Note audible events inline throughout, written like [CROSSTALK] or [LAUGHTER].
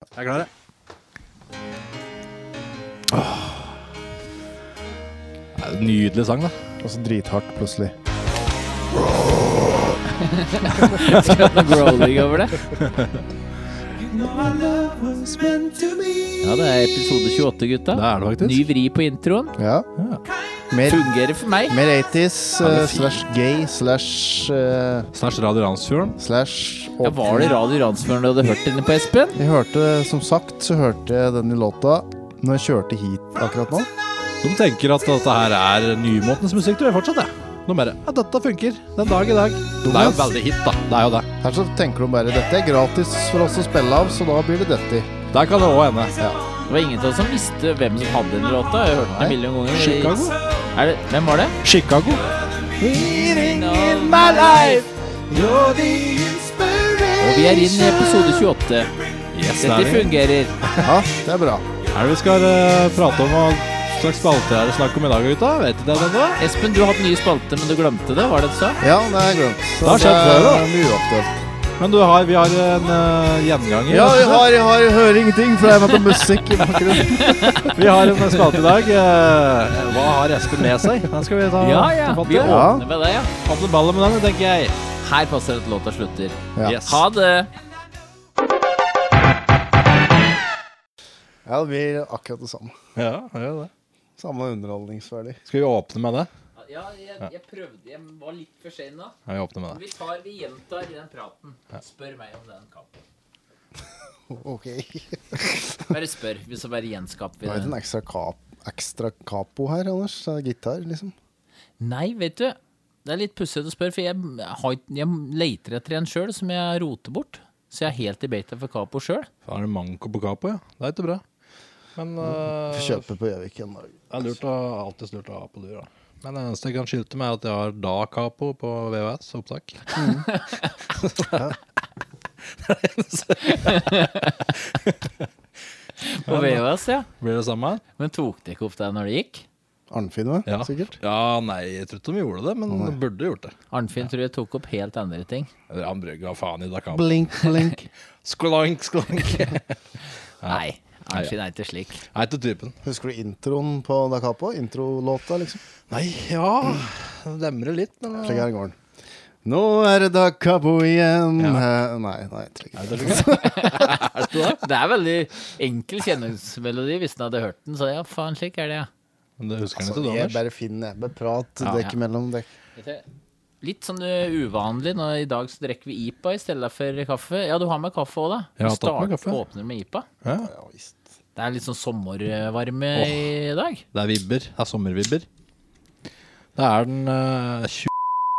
Jeg er klar, jeg. Det er en Nydelig sang, da. Og så drithardt plutselig. Skal det noe growling over det? Ja, det er episode 28, gutta. Det er det faktisk. Ny vri på introen. Ja. Mer, Fungerer for meg. mer 80s Ja, det er eh, fint. slash gay slash eh, Snart Radio Randsfjorden. slash Ja, var det Radio Randsfjorden du hadde hørt inne på, Espen? Jeg hørte, som sagt, så hørte jeg denne låta når jeg kjørte hit akkurat nå. De tenker at dette her er nymåtens musikk, tror jeg fortsatt. Jeg. De bare Ja, dette funker. Den dag i dag. Det er jo Thomas? veldig hit, da. Det er jo det. Her så tenker de bare dette er gratis for oss å spille av, så da blir det dette. Der kan det òg ende. Det var ingen av oss som visste hvem som hadde den låta. Jeg har hørt den en million ganger. Chicago. Er det, hvem var det? Chicago. Og vi er inn i episode 28. Yes, det Dette er vi. fungerer. Ja, det er bra. Er det vi skal eh, prate om hva slags spalte er det snakk om i dag, gutta? Vet ikke dere det? Espen, du har hatt nye spalte, men du glemte det. Var det du sa? Ja, det er glemt. Så Det har skjedd før, da. er mye uaktuelt. Men du har, vi har en eh, gjenganger. Ja, jeg har, jeg har, jeg hører ingenting, for jeg var på musikk i bakgrunnen. Vi har en spalte i dag. eh, hva har Espen med seg? Den skal vi ta ta fatt i. Vi Ja. åpner med det, ja. Fatt i ballen med den, tenker jeg. Her passer det at låta slutter. Ja. Yes. Ha det. Ja, det blir akkurat det samme. Ja, gjør det. Samme underholdningsverdi. Skal vi åpne med det? Ja, jeg, jeg prøvde. Jeg var litt for sein da. Ja, vi åpner med det. Vi tar, vi gjentar i den praten. Spør meg om den kampen. Ok. Det Bare spør, hvis så bare gjenskaper vi var ikke den. en ekstra, kap, ekstra capo her, Anders. Det er Gitar, liksom. Nei, vet du. Det er litt pussete å spørre, for jeg, har, ikke- jeg leter etter en sjøl som jeg roter bort. Så jeg er helt i beita for Capo sjøl. Da er det manko på capo, ja. Det er ikke bra. Men eh, Får kjøpe på Gjøvik en dag. det er lurt å, alltid lurt å ha på lur, da. Men det eneste jeg kan skylte med, er at jeg har da capo på VVS opptak. På VHS, ja. Blir det samme? Men tok det ikke opp deg når det gikk? Arnfinn, vel? Ja. Sikkert. Ja, nei, jeg tror ikke de gjorde det, men de burde gjort det. Arnfinn tror jeg tok opp helt andre ting. Eller han brøk hva faen i da capo. Blink, blink. Sklank, [LAUGHS] sklank. Nei. Arnfinn er ikke slik. Nei, til typen. Husker du introen på Da Capo? Introlåta, liksom? Nei, ja Det demrer litt, men eh. Slik her går den. Nå er det Da Capo igjen. Eh, Nei, nei, jeg trenger ikke. Det er veldig enkel kjenningsmelodi hvis en hadde hørt den. Så ja, faen, slik er det, ja. Men det husker han Altså, ikke, jeg Anders. bare finner jeg bare prat Ja. dekk mellom dekk. Dette- Litt sånn eh, uvanlig. Nå, I dag så drikker vi IPA i stedet for kaffe. Ja, du har med kaffe òg, da. Jeg har Du tatt med starter- kaffe. Åpner med IPA. Ja, Ja, visst. Det er litt sånn sommervarme i dag. det er vibber. Det er sommervibber. Det er den eh,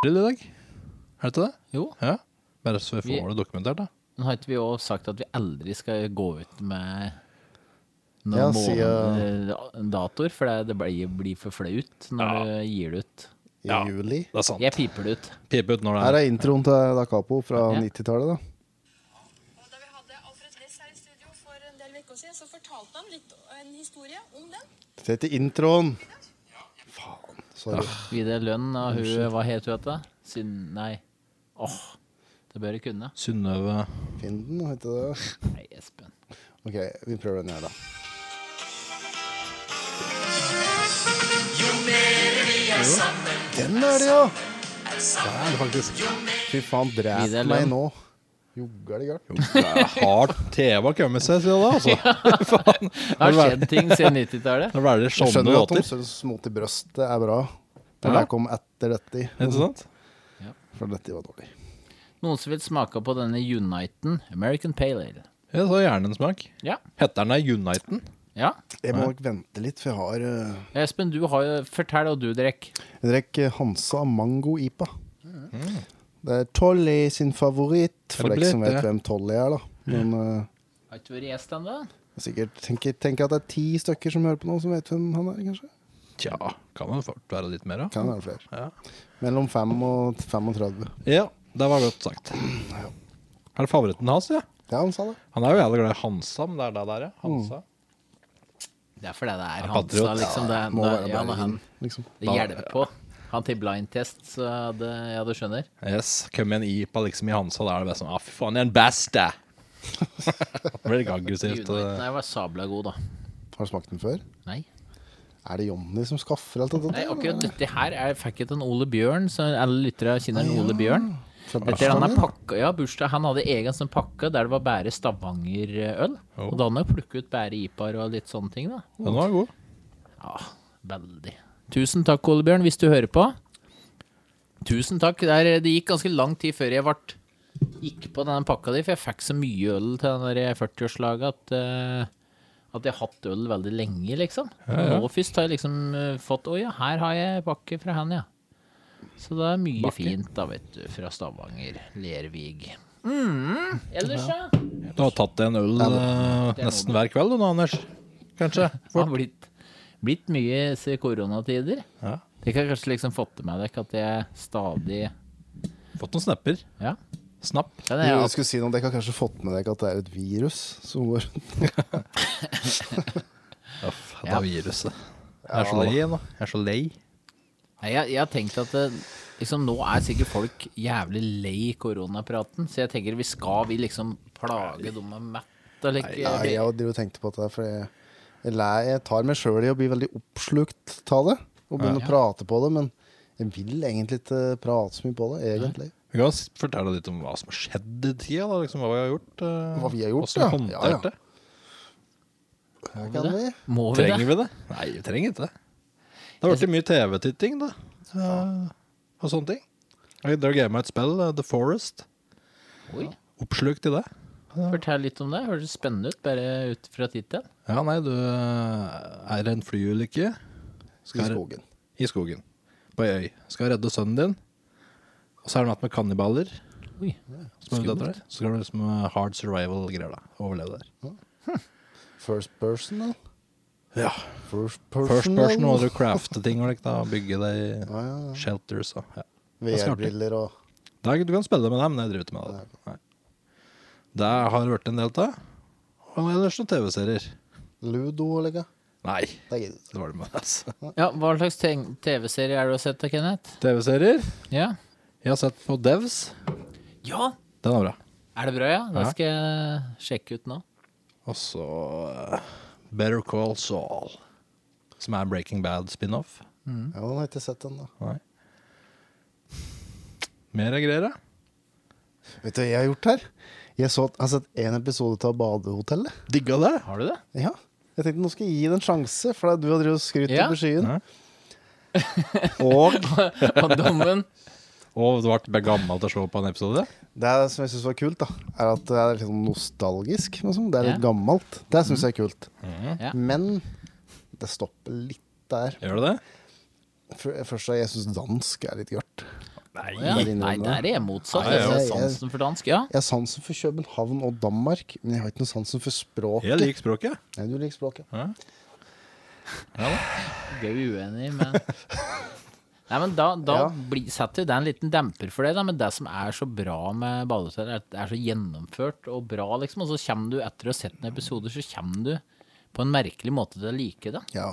20 i dag. Er det ikke det? Jo, Ja. Bare så vi Vi- får det dokumentert, da. men har ikke vi òg sagt at vi aldri skal gå ut med noen Ja, måned- siden- eh, datoer? For det, det blir, blir for flaut når Ja. du gir det ut. I Ja. juli. Det er sant. Jeg piper det ut. Pipe ut når Her det er er introen til Da Capo fra Ja. 90-tallet, da. Og da vi hadde Alfred Ness her i studio for en del uker siden, så fortalte han litt en historie om den. Se til introen. Faen. Sorry. Ah. Vidar Lønn og hun Hva het hun igjen? Syn... Nei. Åh, det bør jeg kunne. Synnøve Finn den, heter det. Nei, Espen. OK, vi prøver den her, da. Den er det, ja! Det er det faktisk. Fy faen, drep Vidar meg Lund. nå. Jogga det galt. Det er hardt TV har kommet seg siden da, altså. Det har skjedd ting siden 90-tallet. Nå blir det Jeg sånne skjønner at de låter. syns mot i brøstet er bra. For Ja. det kom etter dette. Ikke sant? For dette var dårlig. Noen som vil smake på denne Uniten American Pale Ale. Ja, så hjernen smak. Ja. Heter den da Uniten? ja. Jeg må nok vente litt, for jeg har eh, Espen, du har jo Fortell hva du drikker. Jeg drikker Hansa Mango IPA. Det er Tolly sin favoritt, for Mm. Er det deg som blitt vet det? hvem Tolly er, da. Men eh, Har ikke vært gjest ennå? sikkert tenker, tenker at det er ti stykker som hører på nå, som vet hvem han er, kanskje. Tja, kan det fort være litt mer, da. Kan være flere. Ja. Mellom fem og 35. Ja, det var godt sagt. Er det favoritten hans, ja? Ja, han sa det. Han er jo jævlig glad i Hansa, men det er det der, Mm. ja. Hansa. Det er fordi det er Ja, Hansa, patriot. liksom. Det, Må det, være ja, bare men han, vin, liksom. det hjelper på. Han til blind test, så det, ja, du skjønner. [LAUGHS] Yes, Kom med en IPA liksom i Hansa, da er det bare sånn ah, fy faen, jeg er den beste! Blir litt aggressivt. Uniten eh. her var sabla god, da. Har du smakt den før? Nei. Er det Jonny som skaffer alt dette? Nei, akkurat dette her er fikk jeg til en Ole Bjørn, så alle lyttere kjenner en Ole Bjørn. Fra Dette bursdagen er han er din? pakka, ja, bursdag, han hadde egen sånn pakke der det var bare Stavanger-øl. Oh. Og da hadde han jo plukket ut bare IPAR og litt sånne ting, da. Den var god. Ja, veldig. Tusen takk, Ole Bjørn, hvis du hører på. Tusen takk. Der, det gikk ganske lang tid før jeg vart, gikk på denne pakka di, for jeg fikk så mye øl til den der 40-årslaget at, eh, at jeg har hatt øl veldig lenge, liksom. Ja, ja. Nå først har jeg liksom eh, fått Å ja, her har jeg pakke fra han, ja. Så det er mye fint, da, vet du. Fra Stavanger. Lervig. Mm, ellers, ja. Du har tatt deg en øl eh, nesten hver kveld du nå, Anders. Kanskje. Det har blitt, blitt mye i koronatider. Ja. Dere har kanskje liksom fått det med dere at jeg stadig Fått noen snapper. Ja. Snapp. Det er det Jo, jeg jeg skulle si noe, Dere har kanskje fått med dere at det er et virus som går Uff, da Ja. viruset. Jeg er så lei nå. Jeg er så lei. altså- Nei, jeg, jeg har tenkt at det, liksom, nå er sikkert folk jævlig lei koronapraten, så jeg tenker vi skal vi liksom plage dem med mett og like Nei, jeg driver og tenkte på dette, her, for jeg, jeg, læ- jeg tar meg sjøl i å bli veldig oppslukt av det. Og begynne å prate på det, men jeg vil egentlig ikke prate så mye på det, egentlig. Vi kan s- fortelle litt om hva som har skjedd i tida. Da, liksom, hva vi har gjort. eh, Hva vi har gjort, hvordan vi ja. håndterte Ja, ja. det. Her kan vi. Må vi det? Trenger vi det? Nei, vi trenger ikke det. Det har blitt mye TV-titting, da. Eh, og sånne ting. Jeg drev og gamet et spill, eh, The Forest. Oi, Oppslukt i det. Fortell litt om det. Høres spennende ut, bare ut fra tittelen. Ja, nei, du eh, er en flyulykke I skogen. i skogen. På ei øy. Skal redde sønnen din. Og så er det natt med kannibaler. Oi. Som er ute etter deg. Så skal du liksom eh, hard survival-greier, da. Overleve der. First person, da. Ja. First First person. person må du crafte ting og like, da. Bygge deg Ja, ja, ja. shelters og ja. Det er så artig. VR-briller og Det er, du kan spille det med dem, men jeg driver ikke med det. Nei. Det har det vært en del av. Og ellers noen TV-serier. Ludo og legge. Nei, Det er gitt. det var det med altså. Ja, hva slags teng- TV-serie er det du har sett da, Kenneth? TV-serier. Ja. Jeg har sett på Devs. ja! Den er bra. Er det bra, ja? Det Ja. skal jeg sjekke ut nå. Og så eh, Better Call Saul, som er Breaking Bad spin-off. Mm. Ja, den har jeg ikke sett ennå. Nei. Mer greier, da? Vet du hva jeg har gjort her? Jeg, så, jeg har sett en episode av Badehotellet. Digga det. Har du det? Ja. Jeg tenkte nå skal jeg gi det en sjanse, for du har drevet og skrytt Ja. over skyen. Ja. Og [LAUGHS] Og dommen Og du ble gammel til [LAUGHS] å se på en episode? det er, som jeg syns var kult, da, er at det er litt sånn nostalgisk. Liksom. Det er litt Ja. gammelt. Det Mm. syns jeg er kult. Ja. Men det stopper litt der. Gjør du det? Før- Først da, jeg syns dansk er litt gørt. Nei. ja. Bare innrømme Nei, der er jeg motsatt. Nei, Jeg ja. har sansen for dansk, ja. Jeg har sansen for København og Danmark, men jeg har ikke noe sansen for språket. Jeg liker språket. Nei, du liker språket. Gøy uenig, men Nei, men Da, da Ja. blir- setter jo det en liten demper for det, da. Men det som er så bra med Badehotellet, er at det er så gjennomført og bra, liksom. Og så kommer du, etter å ha sett noen episoder, så kommer du på en merkelig måte til å like det. Ja.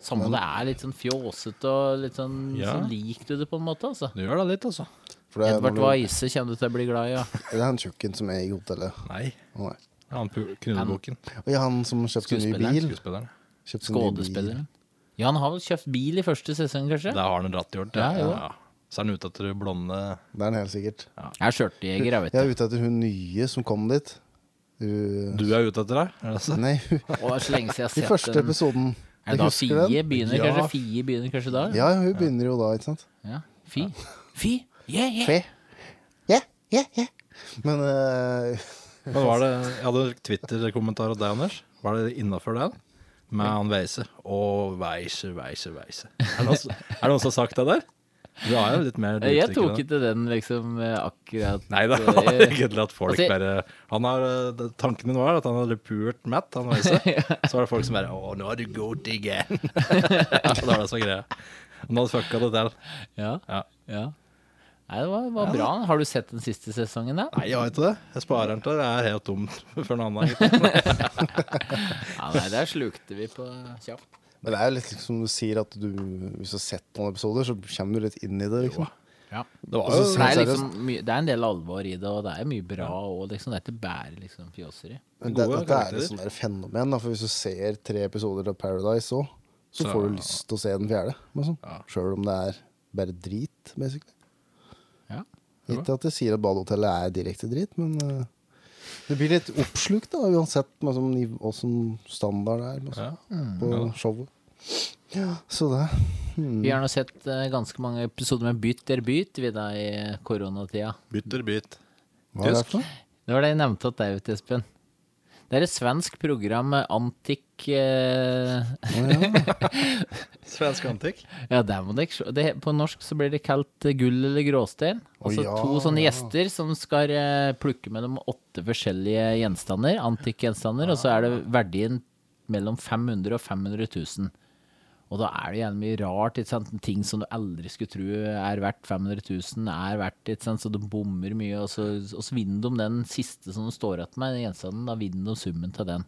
Samme om det er litt sånn fjåsete og litt sånn Ja. Så liker du det på en måte, altså. Du gjør det litt, altså. For det, er- Edvard Wise kommer du til å bli glad i, ja. det er han tjukken som er i hotellet. Nei. Å, nei. Han pu- Knudeboken. Og ja, han som kjøpte en ny Skuespilleren. bil. Skuespilleren. Kjøpte en ny bil. Skådespilleren. Ja, han har vel kjøpt bil i første sesong, kanskje? Det har han ratt gjort. Ja. Ja, jo. Ja. Så er han ute etter blonde Det er han helt sikkert. Jeg er skjørtejeger, jeg, vet Jeg er du. ute etter hun nye som kom dit. Hun Du er ute etter deg? Er det så? Nei, hun- Og så lenge siden i jeg har første sett den episoden. Er det Jeg da husker den. Fie begynner Ja. kanskje? Fie begynner kanskje da? Ja, hun begynner jo da, ikke sant? Ja. Fi. Fi. Yeah, yeah. Fe. Ja, ja, ja. Men eh, Men var det, jeg hadde en Twitter-kommentar av deg, Anders. Var det innafor den? Med han Weise. Å, Weise, Weise, Weise. Er det noen som- er det noen som har sagt det der? Du er jo litt mer Jeg utviklende. tok ikke den liksom eh, akkurat eh, Nei, [LAUGHS] det var egentlig at folk Altså, jeg- bare han har, eh, det- Tanken min var at han hadde pult Matt, han [LAUGHS] Weise. Så var det folk som bare Å, nå er du god til [LAUGHS] igjen. Så det var det som var greia. Han hadde fucka det til. Ja. Ja. ja. Nei, det var, var bra. Har du sett den siste [LAUGHS] sesongen, da? Nei, jeg har ikke det. Jeg sparer den til det er helt tomt [LAUGHS] for noen annen. Ja, nei, der slukte vi på kjapt. Men det er jo litt liksom du sier at du Hvis du har sett noen episoder, så kommer du litt inn i det, liksom. Ja. Det var Og jo så Det er, Seriøst? liksom, mye- det er en del alvor i det, og det er mye bra. Og liksom, det er ikke bare liksom, fjåseri. Men Gode det, dette er karakterer. et sånt der fenomen. Da, for Hvis du ser tre episoder av Paradise òg, så, Så- får du lyst til å se den fjerde. Liksom. Sjøl om det er bare drit, basically. Ja. Ikke at jeg sier at badehotellet er direkte drit, men eh, det blir litt oppslukt da, uansett liksom, niv- åssen standard det er liksom, ja. på showet. Ja, så det. Mm. Hmm. Vi har nå sett eh, ganske mange episoder med Bytt der bytt vi da i koronatida. [LAUGHS] Bytter bytt. Hva er det Tysk? for noe? Det var det jeg nevnte at det er, vet du, Espen. Det er et svensk program, eh, Antik eh, Svensk antikk. Ja, det må dere se. Det, på norsk så blir det kalt eh, gull eller gråstein. Altså Å, ja, to sånne ja. gjester som skal eh, plukke mellom åtte forskjellige gjenstander, antikkgjenstander, og så er det verdien mellom 500 og 500 000. Og da er det gjerne mye rart, ikke sant? ting som du aldri skulle tro er verdt 500 000, er verdt, ikke sant? så du bommer mye, og så, og så vinner de den siste som de står igjen med, den gjenstanden, da vinner de summen til den.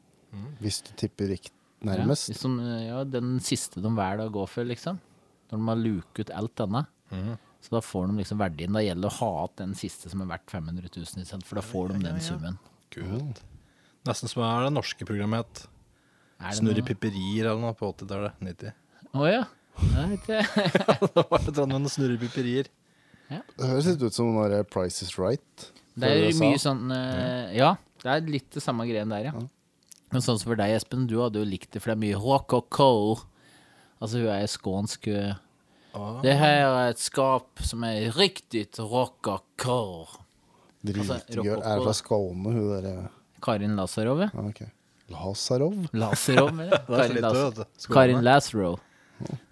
Hvis du tipper riktig Ja, nærmest. liksom, ja, den siste de velger å gå for, liksom. Når de har luket ut alt annet. Så da får de liksom verdien. Da gjelder det å ha igjen den siste som er verdt 500 000, ikke sant? for da får de den summen. Kult. Nesten som er det norske programmet het. Er det Snurre noe- pipperier eller noe på 80-tallet. 90. Å ja. Nei, [LAUGHS] det- [LAUGHS] det var et eller annet med snurre pipperier. Det høres litt ut som den der Price is right. Det er jo fra mye USA. sånn eh, Ja, det er litt det samme greien der, ja. Men sånn som for deg, Espen, du hadde jo likt det, for det er mye rococo. Altså, hun er skånsk. hun. Det her er et skap som er riktig rococo. Dritgøy. Rokoko, Er det da. fra Skåne, hun derre Karin Lazarov, ja. ja, ok. Lazarov? Laserov, [LAUGHS] eller? er Karin, litt Las- død, vet du. Karin Laserov.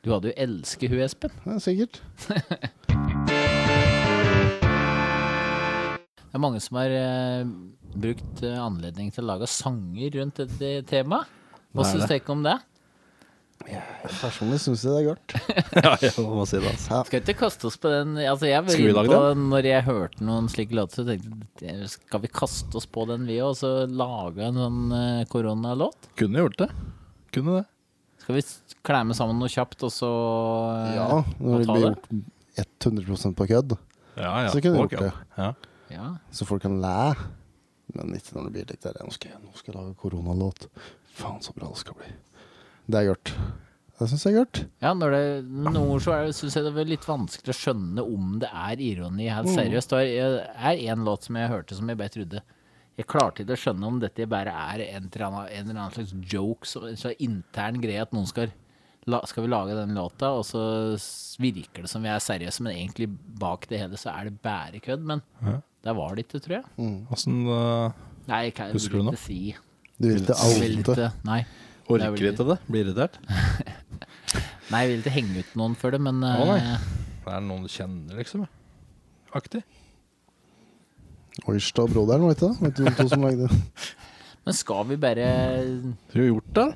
Du hadde jo elsket hun, Espen. Ja, sikkert. Det er mange som har eh, brukt eh, anledning til å lage sanger rundt dette temaet. Hva Nei, syns det. dere om det? Personlig syns jeg det er gørt. [LAUGHS] ja, jeg må si det, altså. Skal ikke kaste oss på den altså jeg var Skal vi inne lage på, Når jeg hørte noen slike låter, så tenkte jeg skal vi kaste oss på den, vi òg, og så lage en sånn eh, koronalåt? Kunne gjort det. Kunne det. Skal vi s- klemme sammen noe kjapt, og så eh, Ja, og når det ta blir gjort 100 på kødd, Ja, ja. Så kunne du Ok, gjort det. Ja. Ja. så folk kan læ. Men ikke når det blir litt der Nå skal jeg, nå skal jeg lage koronalåt. Faen, så bra det skal bli. Det er gørt. Det syns jeg er gørt. Ja, når det, noen ord så syns jeg det var litt vanskelig å skjønne om det er ironi. Helt Mm. seriøst. Det er- er én låt som jeg hørte som jeg bare trodde Jeg klarte ikke å skjønne om dette bare er en eller annen, en eller annen slags joke, så, så intern greie at noen skal la, Skal vi lage den låta, og så s- virker det som vi er seriøse, men egentlig bak det hele så er det bare kødd. Men der var det ikke, tror jeg. Åssen øh, Nei, jeg kan Husker du vil noe? ikke si. Du vil ikke Jeg vil oute. ikke- Nei. Orker Det er vel- ikke det? Blir irritert? Nei, jeg vil ikke henge ut noen for det, men Å, nei. eh, Det er noen du kjenner, liksom. ja. Aktig. Oirstad og broderen, var det ikke det? Vet du de to som lagde Men skal vi bare Skulle du gjort det?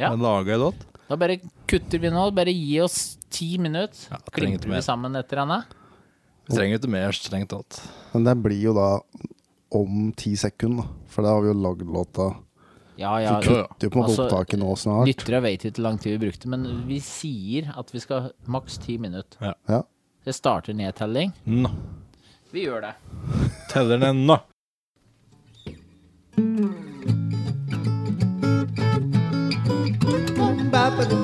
Ja. Laga ei låt? Da bare kutter vi nå. Bare gi oss ti minutter. Ja, trenger ikke Klimper mer. vi sammen etter henne? Vi trenger ikke mer strengt tatt. Men det blir jo da om ti sekunder, da. For da har vi jo lagd låta. Ja, ja. Vi kutter jo på en måte Altså, opptaket nå snart. Lyttere vet ikke hvor lang tid vi brukte, men vi sier at vi skal maks ti minutter. Ja. Det starter nedtelling. Nå. Vi gjør det. Teller ned nå. Eh,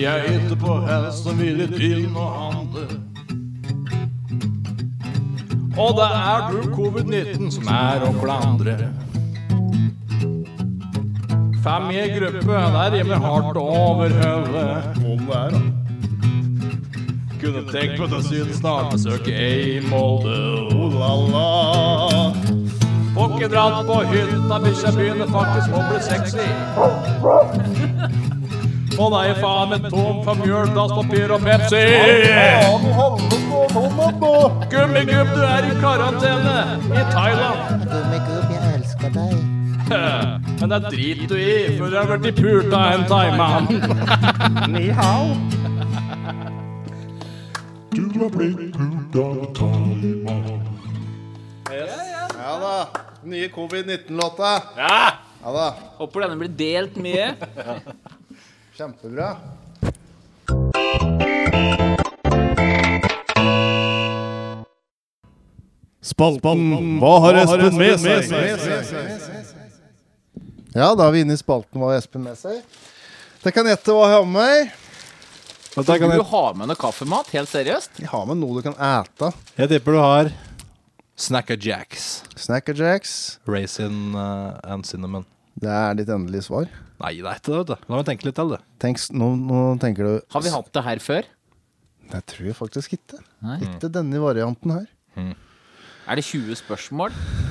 Jeg heter på hest og ville inn og handle. Og det er du covid-19 som er å klandre. Fem i en gruppe, der rimer hardt over hodet. Kunne tenkt på det siden snart besøke ei i Molde. Oh, la, la. Pokker dratt på hytta, bikkja begynner faktisk å bli sexy. Å nei, faen, men tom for mjøl, dasspapir og Pepsi. Gummigubb, du er i karantene i Thailand. Gummigubb, jeg elsker deg. [LAUGHS] Men det driter du i, for du har blitt pult av en thaimann. Ja da. Nye covid-19-låta. Ja, Ja da. Håper denne blir delt [LAUGHS] mye. Kjempebra. Spalten Hva har Espen med seg? Ja, da er vi inne i spalten Hva har Espen med seg? Det kan gjette hva jeg har med meg. Dette kan Du jeg, har med noe kaffemat, helt seriøst? Jeg har med noe du kan æte. jeg tipper du har Snacker Jacks. Snacker Jacks. Raisin eh, and cinnamon. Det er ditt endelige svar. Nei, det er ikke det, vet du. La meg tenke litt til det. Tenk, s- nå, nå tenker du Har vi hatt det her før? Jeg tror jeg faktisk ikke. Nei. Ikke denne varianten her. Er det 20 spørsmål?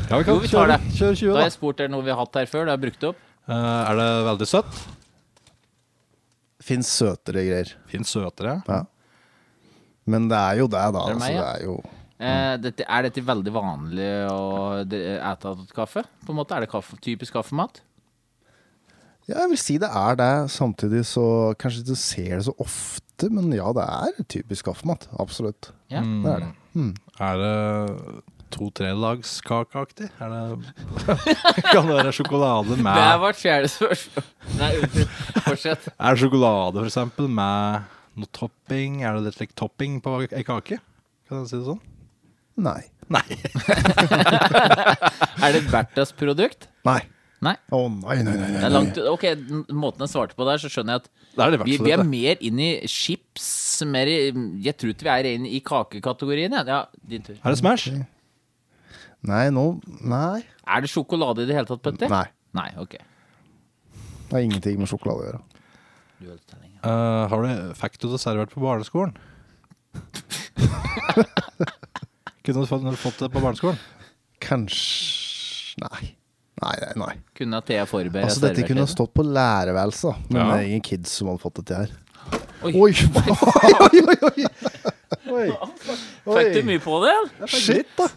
Ja, vi Jo, vi tar det. Kjør 20, Da da. har jeg spurt dere noe vi har hatt her før. Det har jeg brukt opp. Eh, er det veldig søtt? Fins søtere greier. Fins søtere. Ja. Men det er jo det, da. Er det altså, meg, ja? det er jo Eh, Mm. dette, er dette veldig vanlig å dre- ete til kaffe? På en måte Er det kaffe, typisk kaffemat? Ja, jeg vil si det er det. Samtidig så kanskje du ser det så ofte, men ja, det er typisk kaffemat. Absolutt. Ja. Mm. Det er det. Er det to-tre lags kakeaktig? Er det [LAUGHS] Kan det være sjokolade med Det var et fjerde spørsmål. Nei, unnskyld. fortsett. Er det sjokolade, for eksempel, med noe topping? Er det litt like, topping på ei kake? Kan jeg si det sånn? Nei. [LAUGHS] Nei. Er det Berthas produkt? Nei. Nei. Å nei, nei, nei. Det er nei. langt, ok, den Måten jeg svarte på der, så skjønner jeg at Det er det i hvert vi, fall vi er ikke. mer inn i chips mer i, Jeg tror ikke vi er inn i kakekategorien. Ja. Ja, din tur. Er det Smash? Nei, nå Nei. Er det sjokolade i det hele tatt, Petter? Nei. Nei, ok. Det har ingenting med sjokolade å gjøre. Du holder telling, ja. Eh, har du, fikk du det servert på [LAUGHS] barneskolen? Kunne du fått, fått det på barneskolen? Kanskje Nei. Nei, nei, nei. Kunne Thea forberedt Altså, dette kunne stått på lærerværelset, da. Men Ja. det er ingen kids som hadde fått dette her. Oi. Oi, oi, oi, oi, oi. Fikk du mye på det? eller? Shit, da.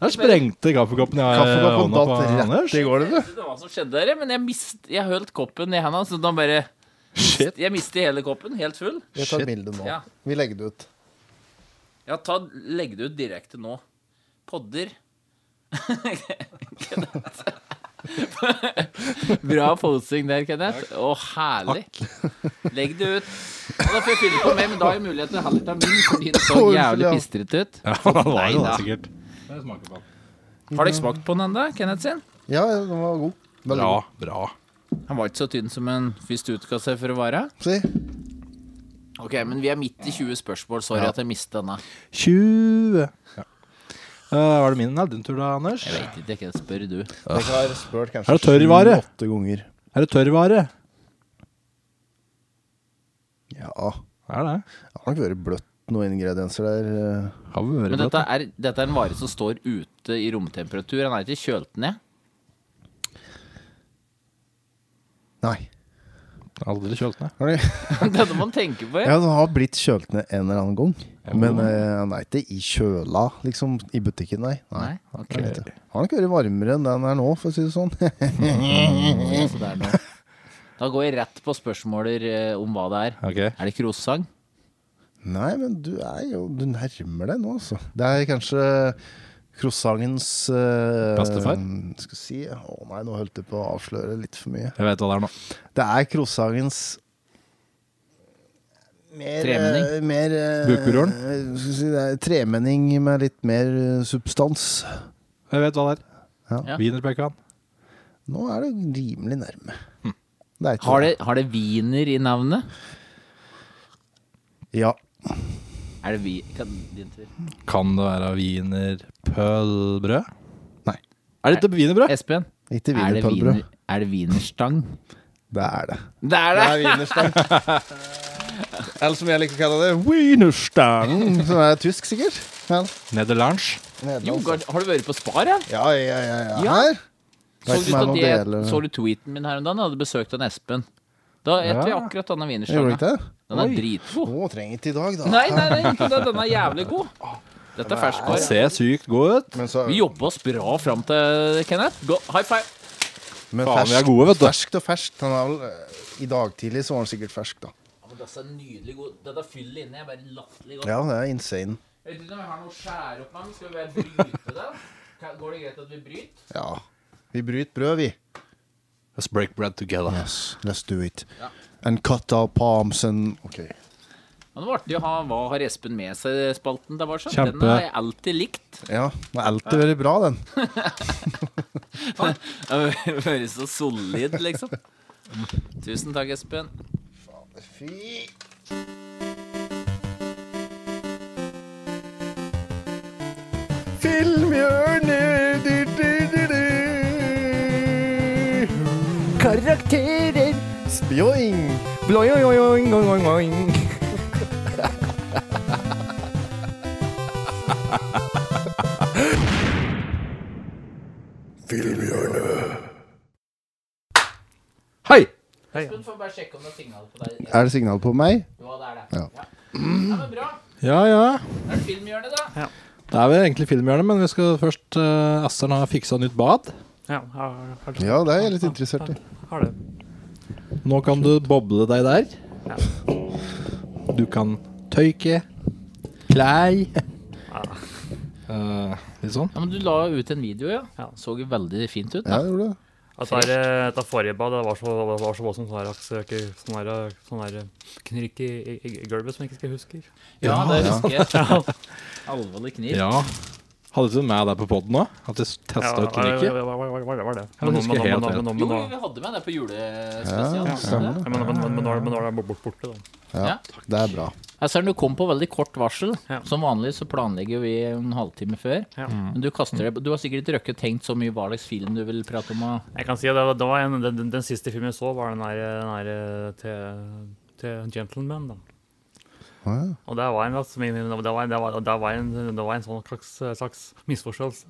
Der sprengte kaffekoppen jeg har i Kaffekoppen hånda på datt Anders. rett i gulvet. Det var hva som skjedde der, men jeg mist, jeg holdt koppen i henda, så da bare Shit. Jeg mistet hele koppen, helt full. Jeg tar bildet nå. Ja. Vi legger det ut. Ja, ta, legg det ut direkte nå. Podder. [LAUGHS] Kenneth. Bra posing der, Kenneth. Å, herlig. Legg det ut. Og da får jeg fylle på mer, men da har jeg mulighet til å heller ta min, fordi den så Unnskyld, jævlig ja. pistrete ut. Ja, han var jo Neida. det, sikkert. Har dere smakt på den ennå, Kenneth sin? Ja, ja, den var god. Veldig Bra, bra. Han var ikke så tynn som en først utga seg for å være. god. Si. Ok, men vi er midt i 20 spørsmål. Sorry at jeg mistet denne. 20. Ja. Eh, var det min eller din tur da, Anders? Jeg vet ikke, jeg spør du. Jeg har spurt kanskje Er det tørrvare? sju-åtte ganger. Er det tørrvare? Ja. Er det? Det har nok vært bløtt noen ingredienser der. eh. Har vi vært Men på dette er, dette er en vare som står ute i romtemperatur. Den er ikke kjølt ned. Nei. Aldri kjølt ned. Har du- [LAUGHS] Dette må man tenke på. Ja. Ja, den har blitt kjølt ned en eller annen gang. Men eh, den er ikke i kjøla, liksom, i butikken, nei. Nei, ok. Den er ikke. Har nok vært varmere enn den er nå, for å si det sånn. [LAUGHS] Så det er noe. Da går jeg rett på spørsmåler eh, om hva det er. Ok. Er det croissant? nei, men du er jo Du nærmer deg nå, altså. Det er kanskje croissantens eh, Bestefar? Skal vi si Å nei, nå holdt jeg på å avsløre litt for mye. Jeg vet hva det er nå. Det er croissantens mer, Tremenning? eh, mer eh, Bukburoren? eh, skal vi si det er Tremenning med litt mer eh, substans. Jeg vet hva det er. Ja. Wienerpekan. Nå er det rimelig nærme. Det er ikke Hm. Har det, har det wiener i navnet? Ja. Er det vi... Kan, din tur. Kan det være wienerpølbrød? Nei. Er dette wienerbrød? Espen, Ikke er det, wienerpølbrød. wiener, er det wienerstang? Det er det. Det er det! wienerstang. Eller som jeg liker å kalle det, wienerstang. Mm, Som er tysk, sikkert. Ja, Nederlandsk. Jo, Nederlands. Gard, har du vært på Spar, ja? Ja, ja, ja. ja. Ja. Her. Så Vet du, ikke om at det er noe jeg, del, så du tweeten min her om dagen? Jeg hadde besøkt han Espen. Da etter jeg Ja. akkurat denne Gjorde du ikke wienerstanga. det? Den er dritgod. Å, trenger ikke i dag, da. Nei, nei, nei, ikke det. Den er jævlig god. Dette er Den ferskvare. ser sykt god ut. Men, så, Vi jobber oss bra fram til Kenneth. Gå, high five. Faen, men vi er ferskt- gode, vet du. Ferskt og ferskt. Han er vel, eh, I dag tidlig så var han sikkert fersk, da. Dette er nydelig god. Dette fyller inni. Jeg bare latterlig godt. Ja, det er insane. Jeg vet ikke om jeg har noe å skjære opp med, men skal vi bare bryte det? Kan- Går det greit at vi bryter? Ja. Vi bryter brød, vi. Let's break bread together. Yes, let's do it. And cut our palms and Ok. Men det var artig å ha Hva har Espen med seg-spalten der, var sånn. Kjempe. Den har jeg alltid likt. [LAUGHS] Ja, det har alltid vært bra, den. Det høres så solid, liksom. Tusen takk, Espen. Fy Filmhjørnet du, du, du, du. Karakterer Spjoing Bloing, oing, oing, oing Hei! Espen får bare sjekke om det er signal på deg. Er det signal på meg? Ja, det er det. Ja. Ja. Ja, men bra. Ja, ja. Det er filmhjørnet, da. Det er vel egentlig filmhjørnet, men vi skal først uh, Astern har fiksa nytt bad. Ja, har, har, Ja, det er jeg litt interessert i har det. Nå kan du boble deg der. Ja. Du kan tøyke. Klei. Eh, litt sånn. Ja, men Du la ut en video, ja. Ja. Så jo veldig fint ut. Ja, da. jeg gjorde det At det er, eh, dette forrige badet var så, var var så voldsomt sånn her, sånn her, sånn her, sånn her knirk i, i, i gulvet som jeg ikke husker. Ja, det husker jeg. Ja. Alvorlig kniv. Ja. Hadde du med deg på poden òg? At du testa ut Ja, knirket? ja, ja, var, var, var, var det. Jeg husker men, helt nå- rett. men, nå- Jo, men, nå- vi hadde med det på julespesialen. stemmer Ja. Ja, men, men, men, men, nå er- men nå er det bort- bort- borte, da. Det er bra Jeg ser du kom på veldig kort varsel. Ja. Som vanlig så planlegger vi en halvtime før. Ja. Mm. Men du kaster det Du har sikkert ikke røkket tenkt så mye hva slags film du vil prate om. og- Jeg kan si at det var, det var en, den, den, den siste filmen jeg så, var den der, den der til, til Gentleman. da. Å, ja. Og det var en, altså, min- det var, det var, det var en, det var en sånn slags, slags misforståelse.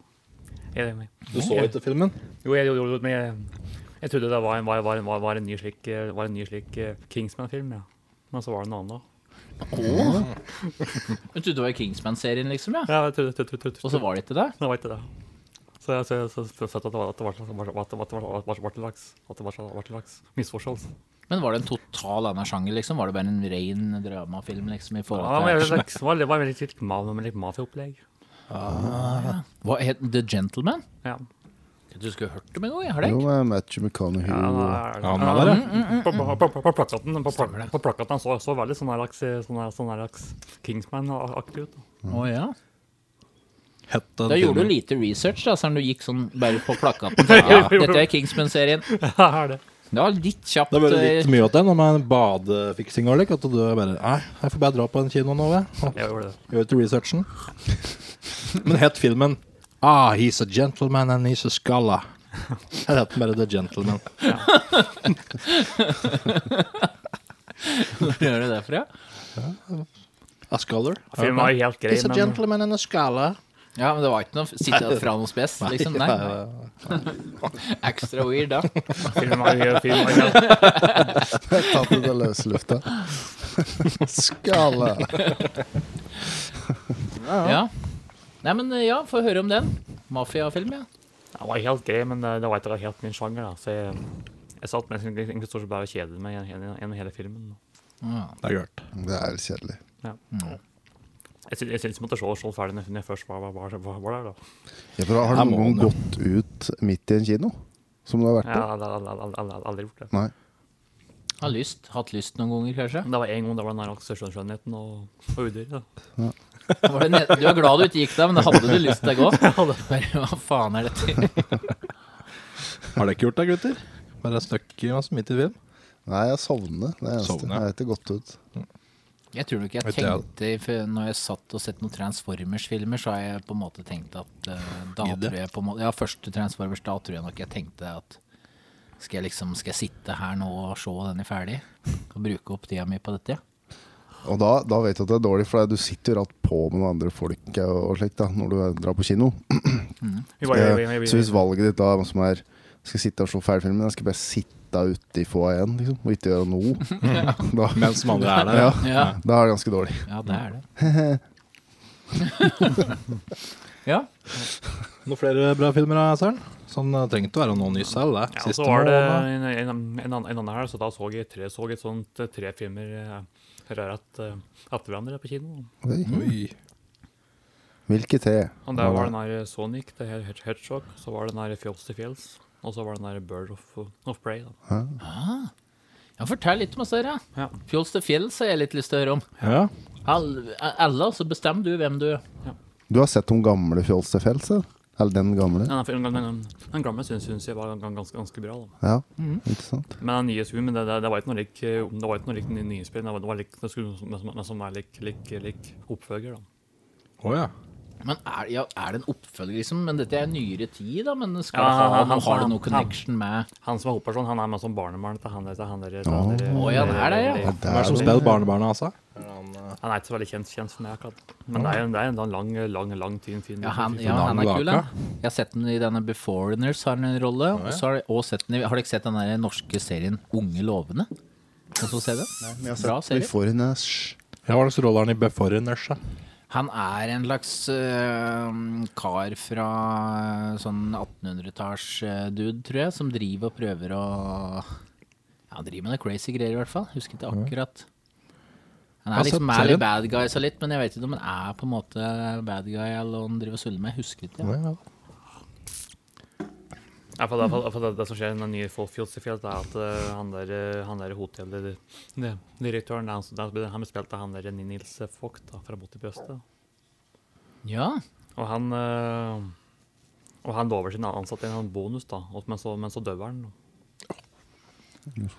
Jeg, Du så ikke filmen? jo, jeg, jo, jo, men jeg, jeg trodde det var en, var, var, var, var en ny slik, eh, var en ny slik eh, Kingsman-film, ja. Men så var det en annen, da. Jeg trodde det var Kingsman-serien, liksom. ja Ja, jeg trodde, trodde, trodde, Og så var det ikke det. det var ikke det. Så jeg så, jeg- så, så, så at det var at det var- at det var- at det var- at det var- at det var til laks. At det var til var til laks. Misforståelse. Men var det en total annen sjanger, liksom? Var det bare en ren dramafilm, liksom? i forhold Ja, til men jeg, action? det var, det var veldig litt, ma- litt mafiaopplegg. Hva het The Gentleman? Ja. Du skulle hørt om en gang, jeg har det Jo, ikke? med Matthew McConaughey Ja, og- da er- Mm, Ja, han er der, ja. På, på, på, på, på plakaten, på, på plakaten så, så veldig sånn her laks, sånn her, sånn her laks Kingsman-aktig ut. da. Å, ja. Het den Da filmen. gjorde du lite research, da, selv om du gikk sånn bare på [LAUGHS] plakaten. Sånn, Ja, dette er Kingsman-serien. [LAUGHS] Ja, er det. Det var litt kjapt. Det er bare litt eh, mye av det når man badefiksing og lik, at du bare Nei, jeg får bare dra på en kino nå, jeg. Jeg gjorde det. Og Gjør ikke [LAUGHS] researchen. Men het filmen Ah, he's a gentleman and he's a scholar. Her het den bare The Gentleman. Hvor gjør du det fra? A scholar. Filmen var jo helt grei, He's a men gentleman and a scholar. Ja, men det var ikke noe sitte fra noe spes, liksom. [LAUGHS] Nei. Ekstra weird, da. filmen var jo filmen var jo helt Tatt ut av løse lufta. [LAUGHS] Skala. Ja. Nei, men eh, ja, få høre om den. Mafiafilm, ja. Den var helt grei, men eh, det, det var ikke helt min sjanger, da. Så jeg, jeg satt mest egentlig egentlig stort sett bare og kjedet meg gjennom- gjennom gjennom hele filmen. Det er gjort. Det er litt kjedelig. Jeg syns jeg syns jeg måtte se se ferdig når når jeg først var, var, var, var, var der, da. Ja, for da har Her du må den, noen ja. gått ut midt i en kino? Som du har vært Jeg på? har aldri- aldri- aldri- aldri- aldri gjort det. Nei. Har lyst. Hatt lyst noen ganger, kanskje. Men Det var en gang det var den her laks- skjønn- skjønnheten og, og udyret. da. Var det ned- Du er glad du ikke gikk der, men det hadde du lyst til å gå. Bare, Hva faen er dette? [LAUGHS] Har dere ikke gjort det, gutter? Bare stuck i masse midt i film? Nei, jeg sovner. Det er det eneste. Sovner. Jeg har ikke gått ut. Jeg tror nok jeg Vet du, ja. tenkte for Når jeg satt og sett noen Transformers-filmer, så har jeg på en måte tenkt at eh, da Gidde. tror jeg på en måte, Ja, første Transformers, da tror jeg nok jeg tenkte at skal jeg liksom skal jeg sitte her nå og se den er ferdig? Og bruke opp tida mi på dette? Og da, da vet du at det er dårlig, for du sitter jo rett på med noen andre folk eh, og, og slikt da, når du drar på kino. Vi var- vi- vi- Eh, vi- Så hvis valget ditt da er som er skal jeg sitte og se ferdig filmen, jeg skal bare sitte ute i få igjen, liksom, og ikke gjøre [LAUGHS] noe, [LAUGHS] da, Mens de andre er der. ja, ja. Ja, da er det ganske dårlig. ja det [LAUGHS] er det. ja. Noen flere bra filmer, da, Søren? Sånn det trengte å være noe nyss selv, det. Ja, Siste så var det måned. en, en, en, annen- en annen her, så da så jeg tre, så jeg sånt eh, tre filmer eh, rett eh, etter hverandre på kino. Oi. Oi. Hvilke tre? eh, Og der var den her Sonic, det her Hedge- Hedgehog, så var det den her Fjols til fjells. Og så var det den der Bird of, of Prey. Da. Ja, fortell litt om oss, dere. Ja. Fjols til fjells har jeg litt lyst til å høre om. Ja. Al- Alle, så bestemmer du hvem du Du har sett de gamle Fjols til fjells? eller? Eller den gamle? Ja, Den, den, den, den gamle syns, syns jeg var gans- ganske, ganske bra. Da. Ja, ikke sant? Men den nye Zoom, det, det, det var ikke noe lik eh, Det var ikke noe lik ny- nyinnspill. Det var- det var lik, det skulle nesten nesten være lik, lik, lik oppfølger, da. Å ja. Men er, ja, er det en oppfølger, liksom? Men dette er nyere tid, da. Men skal Ja, ha, han- men han- har det han- noe connection med Han som er hovedperson, han er med som barnebarn til han der. til Han der, til han der Å, ja, han er det, ja. Han Det Hvem er det som spiller barnebarnet, altså? er ikke så veldig kjent, kjent for meg akkurat. Men det er jo det er en lang, lang, lang tid. Fin, Ja, han, fin- ja, han er Navnet kul, baka. han. Jeg har sett den i denne Beforeigners, har han en rolle. Og så har, jeg også sett den i, har dere sett den der norske serien Unge lovende? Kan du se den? Bra Vi serie. får en æsj. Ja, Hva slags rolle har han i Beforeigners? da? Han er en slags øh, kar fra sånn 1800-talls-dude, tror jeg, som driver og prøver å Ja, han driver med noe crazy greier, i hvert fall. Husker ikke akkurat. Han Jeg har er liksom sett er serien. litt bad guy så litt, men jeg vet ikke om han er på en måte bad guy eller om han driver og suller med. Jeg Husker ikke. Ja, ja. Ja, for det, for, for det, det som skjer i den nye Fjolls i Fjells, det er at eh, han der, eh, han der hotelldirektøren han, som- han blir spilt av han der Nils Vogt da, fra Bot i brøstet. Ja. Og han eh, Og han lover sine ansatte en sånn bonus, da, og- men så, men så dør han.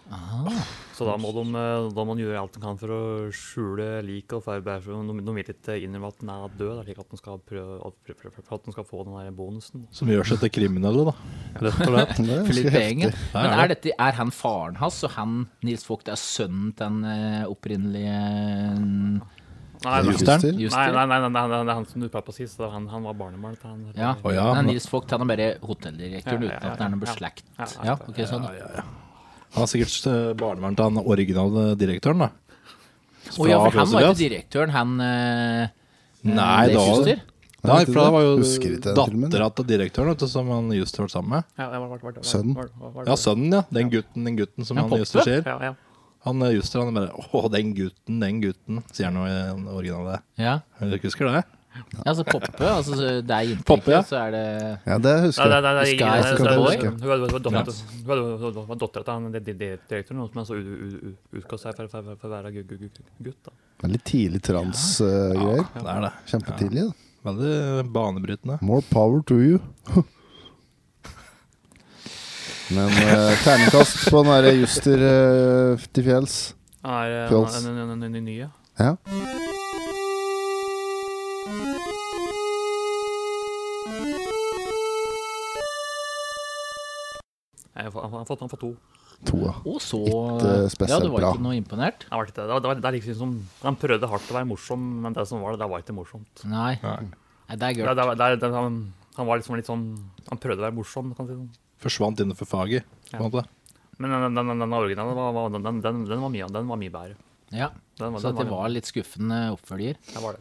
Ah. Så da må, de, eh, da må de gjøre alt de kan for å skjule liket. og forberede- for De, de vil ikke innrømme at den er død, da, slik at de skal, prøve, at, prø- prø- prø- at de skal få den der bonusen. Som gjør seg til kriminelle, da. Rett og slett. Det er ganske Philip heftig. Engen. Ja, Men ja. er, dette, er han faren hans, og han Nils Vogt er sønnen til den eh, opprinnelige eh, Nei, nei, Juster. nei, Juster? nei, nei, nei, nei, nei, det er han som du prata sist. så Han, han var barnebarn til han. Ja. Å ja, Nei, men- Nils Vogt han er bare hotelldirektøren Ja, ja, uten ja, at han er noe ja. beslekt. Ja, ja, Ja, ok, sånn. Ja, ja, ja. Han er sikkert eh, barnevern til han originale direktøren, da. Å Fra ja, for han var ikke Fjøsefjells. direktøren, han eh, Nei, Leif det var Juster. Nei, Vet du for det var jo Husker ikke den filmen. dattera til direktøren vet du, som han just har vært sammen med. Ja, ja, var- var- var- var- Sønnen. var- var- var- Ja, sønnen, ja. Den gutten, den gutten som Ja, han Poppe. just ser. Ja, ja. Han eh, Juster han bare 'Å, den gutten, den gutten', sier han jo i den originale. Ja. Dere husker det? ja, altså Poppe. Altså, så det er Poppe, inntrykket, ja. så er det Ja, det Nei, husker nei, jeg. nei, nei, Sky nei, is nei, the nei, boy. nei, Hun var- hun var datter- hun var- hun var- hun var dattera til han di- di- direktøren, men så ut- ut- ut- utga seg for- for for å være gu- gu- gu- gutt. da. Veldig tidlig transgreier. Det er det. Kjempetidlig. da. Veldig banebrytende. More power to you. [LAUGHS] Men eh, terningkast på den derre Juster eh, til fjells. Han er eh, Fjols. en- en- en- en- en nye. Ja. Nei, Han han- han fått han fått to. To, ja. Å, så eh, Ikke spesielt Ja, du var bra. ikke noe imponert? Han var ikke- Det var- det var- det er liksom som Han prøvde hardt å være morsom, men det som var det, det var ikke morsomt. Nei. Nei, det er Det, gørt. det, det, det, han, han var liksom litt sånn Han prøvde å være morsom, kan du si. sånn. Forsvant innenfor faget, på en måte. Men den, den, den, den originale var, var, den, den, den, den var mye, den var mye bedre. Ja. Den, Så den det var litt skuffende oppfølger. den var det.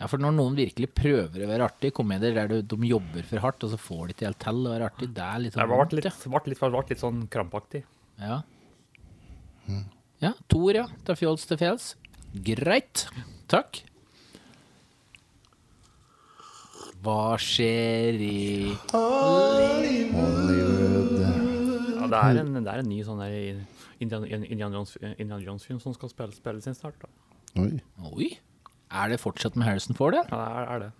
Ja, for når noen virkelig prøver å være artig, komedier der du, de jobber for hardt, og så får de ikke helt til å være artig, det er litt Det sånn ble litt, vondt, ble litt, ble litt sånn krampaktig. ja. Ja. ja. Tor, ja. Til fjols til fjells. Greit. Takk. Hva skjer i Ja, det, er en, det er en ny sånn der i- Indian, Indian, Jones, Indian Jones-film som skal spille, spilles inn snart. Da. Oi. Oi! Er det fortsatt med Harrison Ford, det? Ja, det er, er det.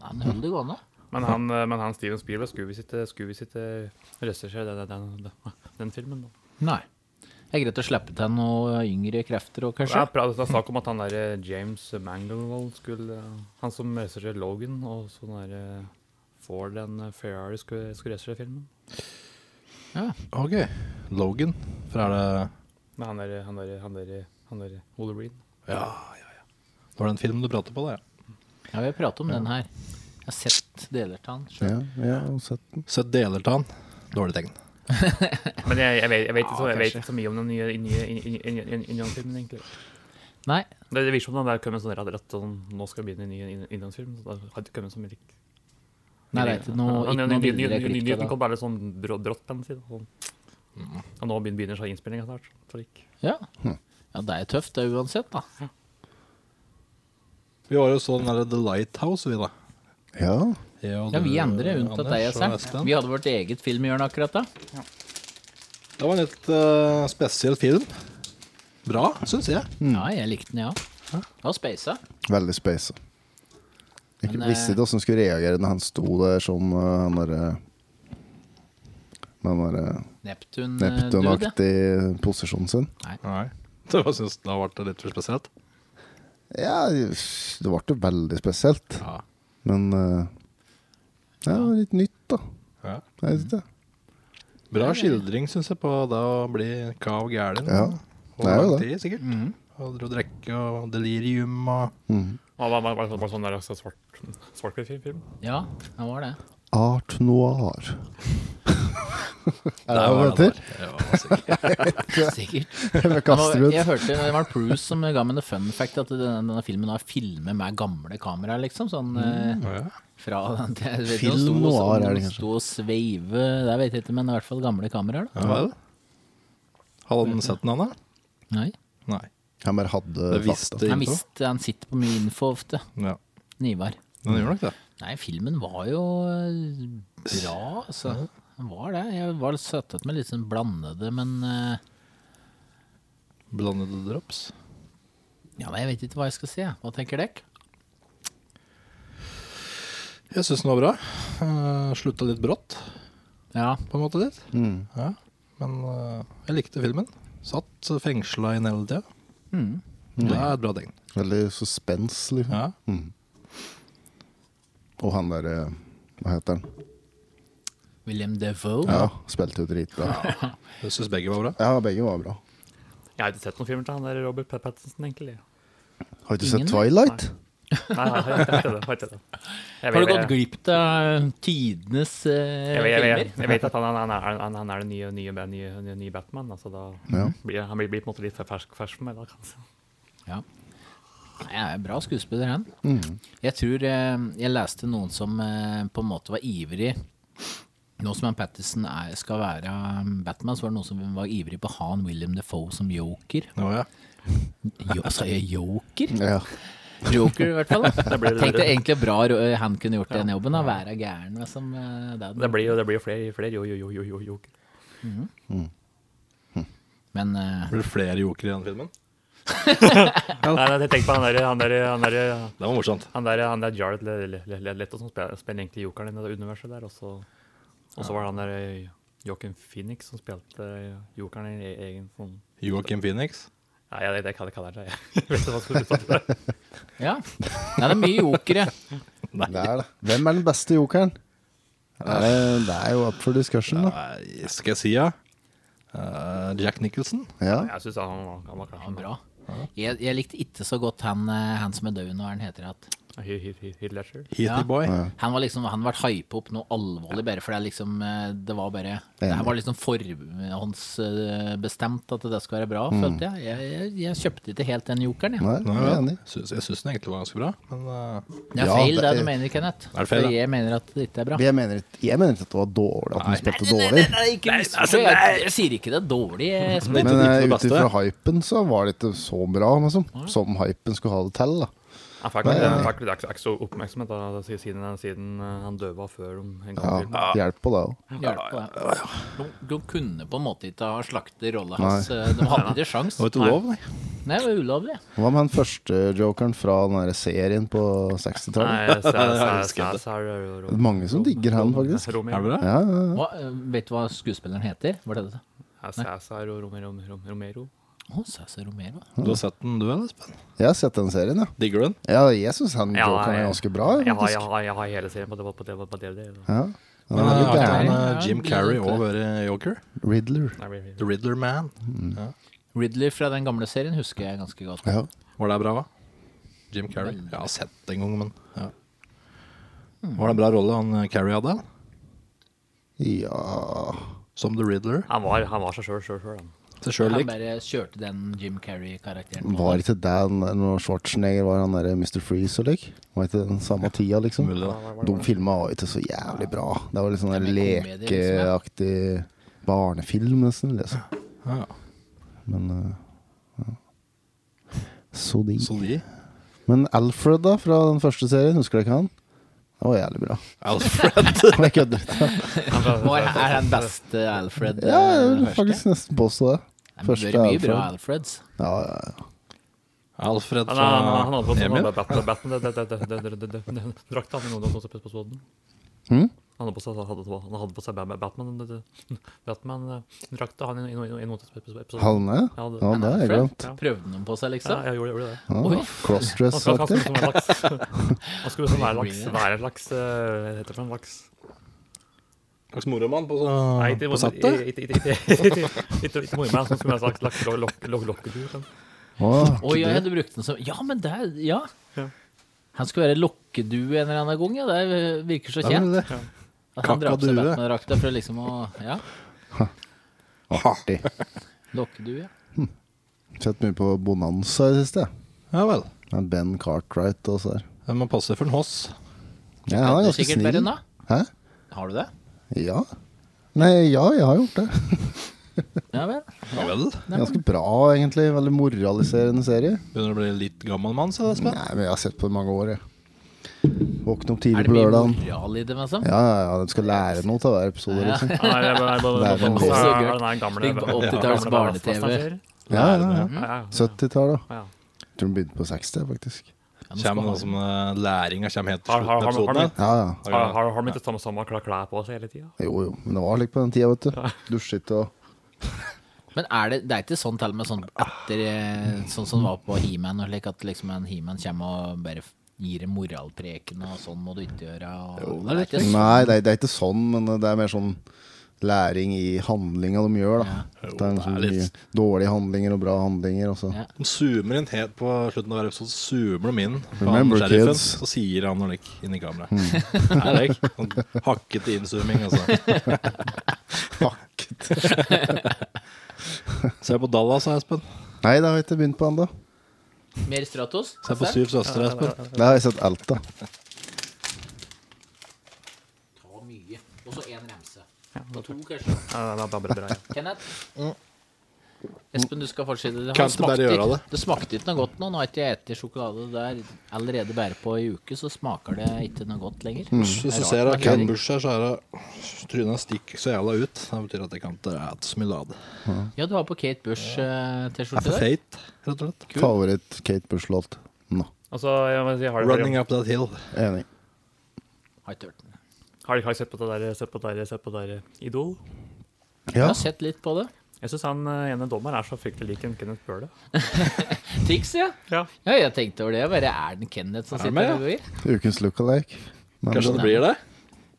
Ja, men hold det gående. Men han, eh, men han Steven Spielberg skulle visst ikke- skulle visst ikke regissere den, den, den, den filmen. Da. Nei. Det er greit å slippe til noen yngre krefter òg, Det kanskje? er pra- det er snakk om at han der eh, James Mangold skulle eh, Han som regisserte Logan, og sånn der eh, Ford and Ferrari skulle, skulle regissere filmen. OK. Logan. For er det Med han der, han der, han der, han der Wolverine. Ja, ja, ja. Det var den filmen du pratet på, da. Ja. Ja, vi har pratet om den her. Jeg har sett deler av den sjøl. Ja, ja, jeg har sett den. Sett deler til han. Dårlig tegn. Men jeg, jeg, vet, jeg, vet, ikke så, jeg vet ikke så mye om den nye, nye Indian-filmen, egentlig. Nei, Det, det virker som den der kom en sånn rett, rett sånn, nå skal vi begynne en ny in- innlandsfilm. Så det hadde ikke kommet så mye lik. nei, det er ikke noe, ikke noe billigere klipp av Nyheten det. Mm. kom bare litt sånn brå, brått, kan man si. da, Sånn. Og nå begynner, begynner så innspillinga snart. Så lik. Ja. ja, det er tøft det er uansett, da. Vi var jo så den derre The Lighthouse, vi, da. Ja. Ja, vi andre, unntatt deg Anders og og Espen. Vi hadde vårt eget filmhjørne akkurat da. Det var en litt eh, spesiell film. Bra, syns jeg. Mm. Ja, jeg likte den, ja. Ja, speisa. Veldig space. Jeg Men, visste eh, ikke hvordan jeg skulle reagere når han sto der som eh, han derre Med den derre Eh, Neptun-dude. Neptun-aktige posisjonen sin. Nei. Det var, synes, da ble det litt for spesielt. Ja, det ble jo veldig spesielt. Ja. Men eh, ja, det var litt nytt, da. Ja. Jeg vet ikke. Bra skildring, syns jeg, på da å bli kav gæren. Ja, Og det er jo lang det. tid, sikkert. Og dro drikke og delirium og Ja, Bare bare- bare- bare sånn der altså, svart Svartkvitt film. Ja, det var det. Art noir. er det Der hva var det heter? der. Ja, sikkert. [LAUGHS] [LAUGHS] Sikkert. Jeg Det var, kaster jeg ut. hørte det var Bruce som ga meg en fun fact at denne, denne filmen har filmet med gamle kameraer, liksom. Sånn eh, Ja. [LAUGHS] fra jeg vet ikke, Mm. Film sto og- noir er det sto kanskje. og sveive Der vet jeg ikke, men i hvert fall gamle kameraer, da. Ja, hva er det? Hadde han sett den, Anna? Nei. Nei. Han bare hadde Det fakta. visste Han, info. visste, han sitter på mye info ofte, Ja. Nivar. Den gjør nok det. Nei, filmen var jo eh, bra, altså. Den var det. Jeg var satt ut med litt sånn blandede, men eh, Blandede drops. ja, men jeg vet ikke hva jeg skal si. jeg. Hva tenker dere? Jeg syns den var bra. Uh, slutta litt brått, Ja, på en måte. litt Mm. ja. Men eh, jeg likte filmen. Satt fengsla inn hele tida. Det er et bra tegn. Veldig suspens, liksom. Ja. Og han derre Hva heter han? William Defoe. Ja, spilte jo dritbra. Jeg syns begge var bra. Ja, begge var bra. Jeg har ikke sett noen filmer til han der Robert Pat- Pattinson, egentlig. Har du Ingen? sett Twilight? Nei, nei, jeg har ikke sett det. Har ikke sett det. Jeg Har du vet- gått glipp av tidenes eh, jeg vet- jeg filmer? vet- Jeg vet at han, han, er, han, han er den nye, nye, nye, nye, nye Batman. Altså da Ja. blir, han blir, blir på en måte litt fersk, fersk for meg. Da, kanskje. Ja. Nei, jeg er bra skuespiller, han. Jeg tror eh, jeg leste noen som eh, på en måte var ivrig. Nå som han Pattison er, skal være um, Batman, så var det noen som var ivrig på å ha en William Defoe som joker. Nå, ja. Jo, sa jeg joker? Ja. Joker, i hvert [LAUGHS] fall. Da. Det blir- Tenkte egentlig bra ro- han kunne gjort den jobben. Da. Være gæren med som eh, den. Det blir jo det blir jo flere, flere jo, jo, jo, jo, jo, jo. Men eh, Blir det flere jokere i den filmen? Nei, nei, jeg tenker på han der, han der, han der, Det var morsomt. han der, han der Jared Le- Le- Le- Le- Leto som spiller, spiller egentlig jokeren i det universet der. Og så og så var det han der eh, Joaquin Phoenix som spilte jokeren i e- egen sånn Joakim Phoenix. Nei, jeg, jeg, jeg kaller kaller det det. Jeg [LAUGHS] vet ikke hva jeg skulle sagt. det. ja. Nei, det er mye jokere. Det er det. Hvem er den beste jokeren? Det er, det er jo up for discussion, da. Nei, skal jeg si, ja. Eh, Jack Nicholson. Ja. Jeg synes han, var- han var Ja, kanskje bra. Jeg, jeg likte ikke så godt han, eh, han som er død nå, hva er han heter at Heath- Heath- Heath- Heath Ledger. Heathy Ja. Boy. Han var liksom, han ble hypa opp noe alvorlig bare, for det er liksom eh, Det var bare Det her var liksom forhåndsbestemt at det skal være bra, følte jeg. Jeg, jeg. jeg kjøpte ikke helt den jokeren, jeg. Mm. Nei, jeg er enig. Syns, jeg syns den egentlig var ganske bra, men eh, Det er Ja, feil det, det er- du mener, Er Kenneth. det feil, for da? jeg mener at det ikke er bra. Jeg mener, ikke- jeg mener ikke at det var dårlig, at han spilte dårlig. Ikke misforstå, jeg, jeg sier ikke altså, det er dårlig, Espen. Ikke- Men ikke eh, det ut beste. ifra hypen så var det ikke så bra, liksom. Som hypen skulle ha det til, da. Han fikk vel- han fikk vel ikke ikke så oppmerksomhet da, siden- siden, siden eh, han døde før om en gang til. Ja, hjelp på det òg. Hjelp på det. De, de kunne på en måte ikke ha slaktet rolla hans. eh, De hadde ikke sjans. [LAUGHS] det var ikke lov, nei. Nei, det var ulovlig. Hva med den første jokeren fra den der serien på 60-tallet? Nei, jeg husker ikke. det Det er mange som digger han, faktisk. Er det Romero. bra? Ja, ja, ja. Hva, eh, vet du hva skuespilleren heter? Var det det? Cæsar og Romero. Romero- Romero. Å, Cæsar Romero. Du har sett den du, eller, Espen? jeg har sett den serien, ja. Digger du den? ja jeg syns han Ja, jokeren er jeg- ganske bra, Jeg har, jeg, faktisk. har, jeg har hele serien på, på, på, på, på DVD. da. Ja. Men er har jo ikke gæren. han Ja, eh, Jim blir Carrey det. òg vært joker? Riddler. Nei, blir- The Riddler Man. Mm. Ridley fra den gamle serien husker jeg ganske godt. Ja. Var det bra, hva? Jim Carrey. Jeg har sett det en gang, men ja. Mm. Var det en bra rolle han eh, Carrey hadde? ja Som The Riddler? Han var, han var seg sjøl, sjøl, sjøl. Seg sjøl Han lik. bare kjørte den Jim Carrey-karakteren. Var ikke det han- når Schwarzenegger var han derre Mr. Freeze og lik? Var ikke den samme tida, liksom? Mulig, da. De filma var ikke så jævlig bra. Det var litt sånn der Det er mer komedie, liksom, ja. lekeaktig barnefilm, nesten. Liksom. Ja, Men eh, ja. Så de. så de Men Alfred, da, fra den første serien, husker du ikke han? Det var jævlig bra. Alfred. [LAUGHS] Jeg [LAUGHS] kødder litt. Nå er er den beste eh, Alfred. eh, Ja, jeg vil første. faktisk nesten påstå det. Nei, men Det første er mye Alfred. bra Alfreds. Ja, ja, ja. Alfred Han er- han fra hadde på Emil. seg Batman- Batman- det- det- det- det- det- det- det- det- drakta han i noen av de på Svodden. Hm? Han hadde på seg, hadde, han hadde på seg Batman- Batman det- det- Batman-drakta han i, i, i, i noen av episodene. Halne? Ja, det- Ja, det har jeg Alfred? glemt. Prøvde den på seg, Ja, liksom? jeg gjorde, jeg gjorde det. Ja, Oi. Han skulle han Crossdress-aktig. skulle som en laks. Han skulle som være laks. Være en laks. eh, Hva heter det for en laks? Slags moromann på, Nei, ikke på ikke- settet. ikke- ikke- ikke- ikke- ikke mormen. Han skulle være en slags laks lok- lok- lok- lokketur. sånn. Åh, Oi, ja, du brukte den som Ja, men det er Ja. Ja. Han skulle være lokkedue en eller annen gang, ja. Det eh, virker så det er kjent. vel det. At han drar på seg Kakadue. Batman-drakta for liksom å Ja. Artig. Lokkedue. Sett mye på Bonanza i det siste. jeg. Ja vel. Med Ben Cartwright og så der. Jeg må passe for en hoss. Ja, han er Du er ganske sikkert bedre enn snill. da. Hæ? Har du det? Ja. Nei, ja, jeg har gjort det. Ja vel. Ja vel. Ganske bra, egentlig. Veldig moraliserende serie. Begynner å bli litt gammel mann, sa Espen. Nei, men jeg har sett på det i mange år, jeg. Våkne opp Er tidlig det på mye lørdagen. moral i det, liksom? Ja, ja, ja. De skal lære noe av hver episode, Ja. [LAUGHS] liksom. Nei, jeg bare- jeg bare- Det er bare- en bare- god- er den der gamle- Ligg på gamle- 80-tallets gamle- barne-TV. gamle- Ja, ja, ja. Mm. Ja, ja, ja. 70-tallet. Ja, ja. Tror de begynte på 60, faktisk. Ja, nå skal Kommer han- noe som eh, læringa kommer helt til Har- har- slutten av har- har- episoden. Ja, ja. her. Har, har, har de ikke samme, samme kla- klær på seg hele tida? Jo, jo. Men det var slik på den tida, vet du. Dusjet og Men er det, det er ikke sånn til og med sånn etter eh, Sånn som det var på He-Man, og slik at liksom en He-Man kommer og bare gir en moralpreken, og sånn må du ikke gjøre. Og, det er ikke sånn. Nei, det er, det er ikke sånn, men det er mer sånn læring i handlinga de gjør, da. Jo, Det er liksom det er litt- mye dårlige handlinger og bra handlinger. Og så. Ja. De zoomer inn helt på slutten av hver episode. Zoomer de inn på han Remember, sheriffen, kids. så sier han noe lik inn i kameraet. [LAUGHS] Er det ikke? Sånn hakkete innzooming, altså. [LAUGHS] Se på Dallas, Espen. Nei, det har jeg ikke begynt på ennå. Mer Stratos? Se på Syv søstre, Espen. Det har jeg sett alt, da. Ta mye. Og så én remse. Og to, kanskje. Ja, det er bare bra, ja. Kenneth? Espen, du skal fortsette. Det, Kan har ikke bare smakte gjøre ikke, det smakte ikke noe godt nå. Nå har ikke jeg spist sjokolade der allerede bare på ei uke, så smaker det ikke noe godt lenger. Hvis du Mm. ser av Ken Bush her, så er det trynet stikker så jævla ut. Det betyr at jeg kan ikke ete så mye lade. Ja, du har på Kate Bush-T-skjorte Jeg er for der. feit, rett og slett. Favoritt-Kate Bush-låt nå. Altså, jeg, må si, har, dere, Running up that hill. Enig. Har ikke hørt den. har dere sett på det der, sett på det der, sett på det der Idol? Jeg Ja. har sett litt på det. Jeg syns han eh, ene dommeren er så fryktelig lik en Kenneth Bøhle. Tix, ja. Ja. Ja, jeg tenkte over det. Bare er den Kenneth som Er sitter med, ja? med, ja. Ukens look-alike. Men Kanskje det blir det?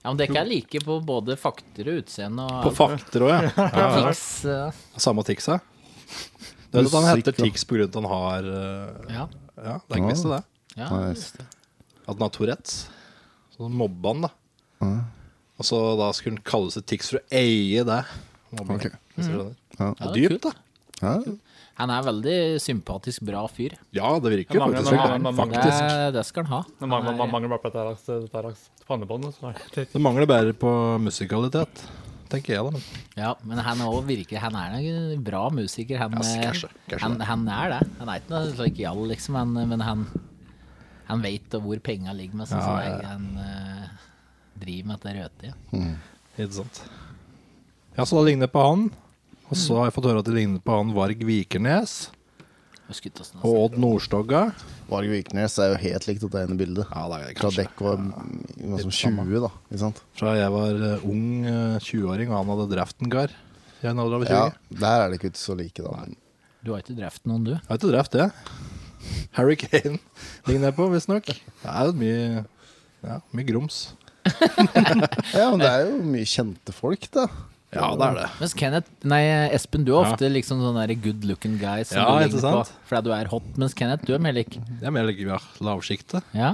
ja, men Dere er like på både fakter og utseende og På fakter òg, ja. ja. ja. Tix. eh, Samme Tix, ja. Du vet at han Musikk, heter da. Tix pga. at han har eh, Ja. Ja, det er ikke visst det. ja. Nice. At han har Tourettes. Så mobba han, da. Og så da skulle han kalle seg Tix for å eie det. Mobbing, Ok. hvis du skjønner. Ja. Mm. Det er Ja, det er dypt, da. Ja. Han er veldig sympatisk, bra fyr. Ja, det virker jo Mange- faktisk mange- sånn. mange- Faktisk. Det, det skal han ha. Det mangler, man, mangler bare på dette her, altså, dette her altså, pannebåndet. Så er [LAUGHS] det Det mangler bare på musikalitet, tenker jeg, da. Men Ja, men han er også virkelig Han er en bra musiker. Han, s- eh, kanskje, kanskje han, det. han er det. Han er ikke noe slik jall, liksom, han, men han, han veit hvor penga ligger med, sånn som jeg- han eh, driver med dette rødtida. ikke sant. Ja, så da ligner jeg på han. Og så har jeg fått høre at de ligner på han Varg Vikernes Husk ikke åssen han og Odd Nordstoga. Varg Viknes er jo helt likt dette ene bildet. Ja, det er Fra kanskje dekk var mm, noe som 20, da. Ikke sant? Fra jeg var eh, ung eh, 20-åring og han hadde drept en kar. i en alder av 20. Ja, der er det ikke så like, da. Men Du har ikke drept noen, du? Jeg har ikke drept det. Harry Kane ligner jeg på, visstnok. Det er jo mye ja, mye grums. Ja, men det er jo mye kjente folk, da. Ja, det er det. Mens Kenneth, nei Espen, du er Ja. ofte liksom sånn der good looking guy som Ja, du ikke ligner på sant? fordi du er hot, mens Kenneth, du er mer lik Det er mer like, ja, lavsjiktet. ja.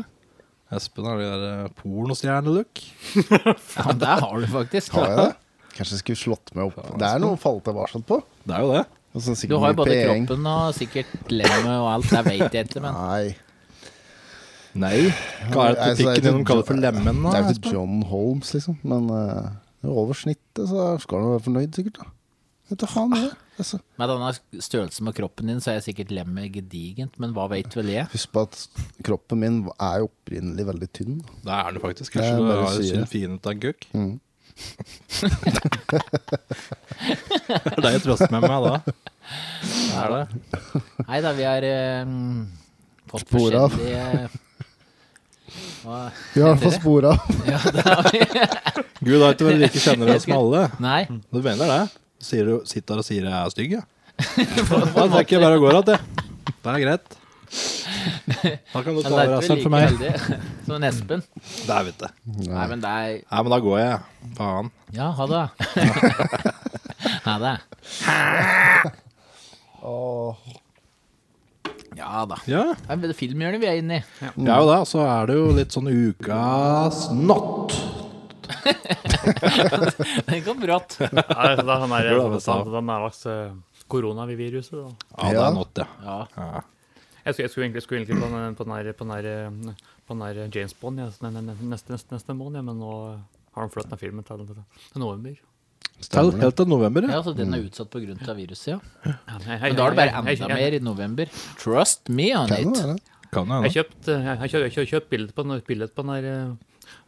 Espen har det der eh, pornostjernelook. ja, men der har du faktisk. Har jeg det? Kanskje jeg skulle slått meg opp. Det er noe å falle tilbake på. Det er jo det. Og så sikkert Du har jo mye både penger. kroppen og sikkert lemmet og alt, det vet jeg ikke, men Nei. Nei. Hva er det Altså, det er butikken ikke din de kaller for Jo- lemen Det da? er jo ikke Espen? John Holmes, liksom. Men eh, det er over snittet, så skal han være fornøyd, sikkert. da Vet du faen det. Altså, Med denne størrelsen med kroppen din, så er jeg sikkert lemmet gedigent, men hva veit vel jeg? husk på at kroppen min er jo opprinnelig veldig tynn. Det er det faktisk. Det er Kanskje du bare å har si en det. Mm. fin ut av en gukk. [LAUGHS] det er det jeg trøster meg med da. [LAUGHS] Det er det. Nei da, vi har eh, fått Spor av. forskjellige hva? [LAUGHS] Vi har i hvert fall spor av. Ja, det har vi. Gud er ikke vel like generøs med alle. Nei. Du mener det? Sier du sitter her og sier jeg er stygg, ja? Da trekker jeg bare og går igjen, jeg. Det er greit. Da kan du Men ta det er ikke resten like for meg. heldig som en Espen. Det er vet du. Nei, men det er Nei, men da går jeg. Faen. Ja, ha det. ha det. Ja da. Ja, Det er filmhjørnet vi er inne i. jeg er jo det. Så er det jo litt sånn ukas not. Det går brått. Nei, så det er sånn der- Hvordan er det det er sant? den der slags eh, koronaviruset, da. Ja, det Ja. er not, ja. Ja. Jeg skulle, jeg skulle egentlig, skulle egentlig på den, på den, her- på den, her, eh, på den her James Bond ja, så den- den- den- neste, neste, neste måned, ja, men nå har han flyttet den filmen til, til november. Til- Helt til november, ja. ja, så den er utsatt pga. viruset, ja. Ja, jeg- Men da er det bare jeg- jeg- enda jeg- mer i november. Trust me on Kan det it. være. Kan jo Jeg hende. kjøpt, eh, jeg har kjøpt, jeg har kjøpt bildet på den, bildet på den her eh,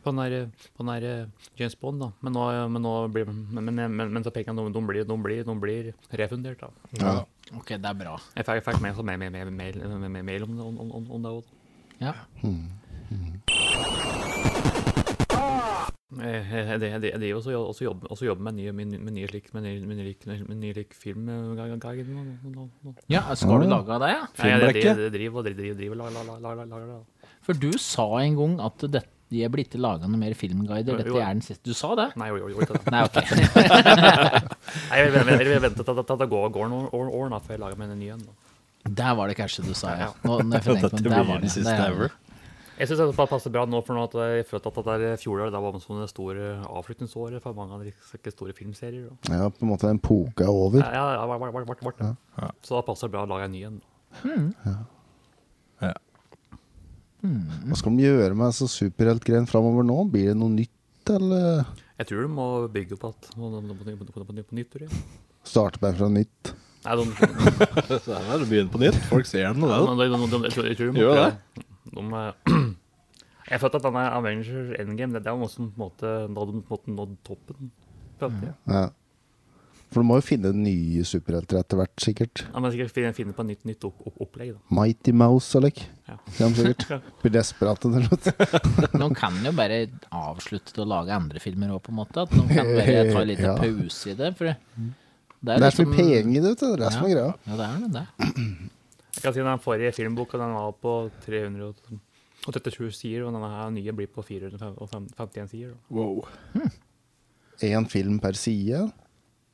på den her, eh, på den her eh, James Bond, da. Men, nå, eh, men, nå blir, men, men, men, men så pengene de, de, blir, de, blir, de blir refundert, da. Ok, det er bra. Jeg fikk, jeg fikk mail, mail, mail, mail, mail, mail om, det- om, om, om det òg. Ja. Jeg driver også, jo- også, jobber, også jobber med nye, med, nye- med nye slik, med nye, med nye, lik- med nye lik film eh, ga- ga- ga- nå- nå- nå- nå. ja skal du lage av deg, ja? Nei, jeg- jeg- Filmbrekket? jeg driver og driver- driver- driver og lager- lager- lager- lager det. For du sa en gang at dette, jeg blir ikke laga noen mer filmguider. Dette Jo. er den siste Du sa det? [LAUGHS] Nei, jeg gjorde- jeg gjorde ikke det. Nei, ok. Nei, Jeg vil- jeg vil vente til at- at det går går noen år, år da, før jeg lager meg en ny en. da. Der var det kanskje du sa, ja. Ja. Nå, når jeg Dette tenker meg om, der blir var det. den siste Der var ever. det. Jeg syns det bare passer bra nå, for nå at jeg følte at det der fjoråret det var som det store avslutningsåret for mange av de ikke store filmserier. da. Ja, på en måte den poka er over. Ja, ja, ja, vart- vart- vart- vart det. Så da passer det bra å lage en ny en. Ja. Hva skal de gjøre med altså, superheltgreien framover nå? Blir det noe nytt, eller Jeg tror de må bygge opp at- på på- på- på nytt. tror jeg. starte bare fra nytt? Nei, de, Så her er det byen på nytt. Folk ser den, og det er det. de, de, de, de, jeg tror- jeg tror de må Gjør prøve. det? De, eh, jeg følte at denne Avengers Endgame det, det var noe som på en måte nådde, på en måte nådde toppen. følte jeg. Ja. For du må jo finne nye superhelter etter hvert, sikkert. Ja, men sikkert finne- finne på et nytt, nytt opp, opp, opplegg. da. Mighty Mouse eller ikke? Ja. Ja, men sikkert. Blir desperate eller noe. Nå kan jo bare avslutte å lage andre filmer òg, på en måte. At nå kan bare ta en liten Ja. pause i det. For det, det Det er så liksom- mye penger i det, vet du. Det er det som er greia. Ja, det er noe det. Jeg kan si Den forrige filmboka den var på 337 sider, og denne her nye blir på 451 sider. da. Wow. Én film per side.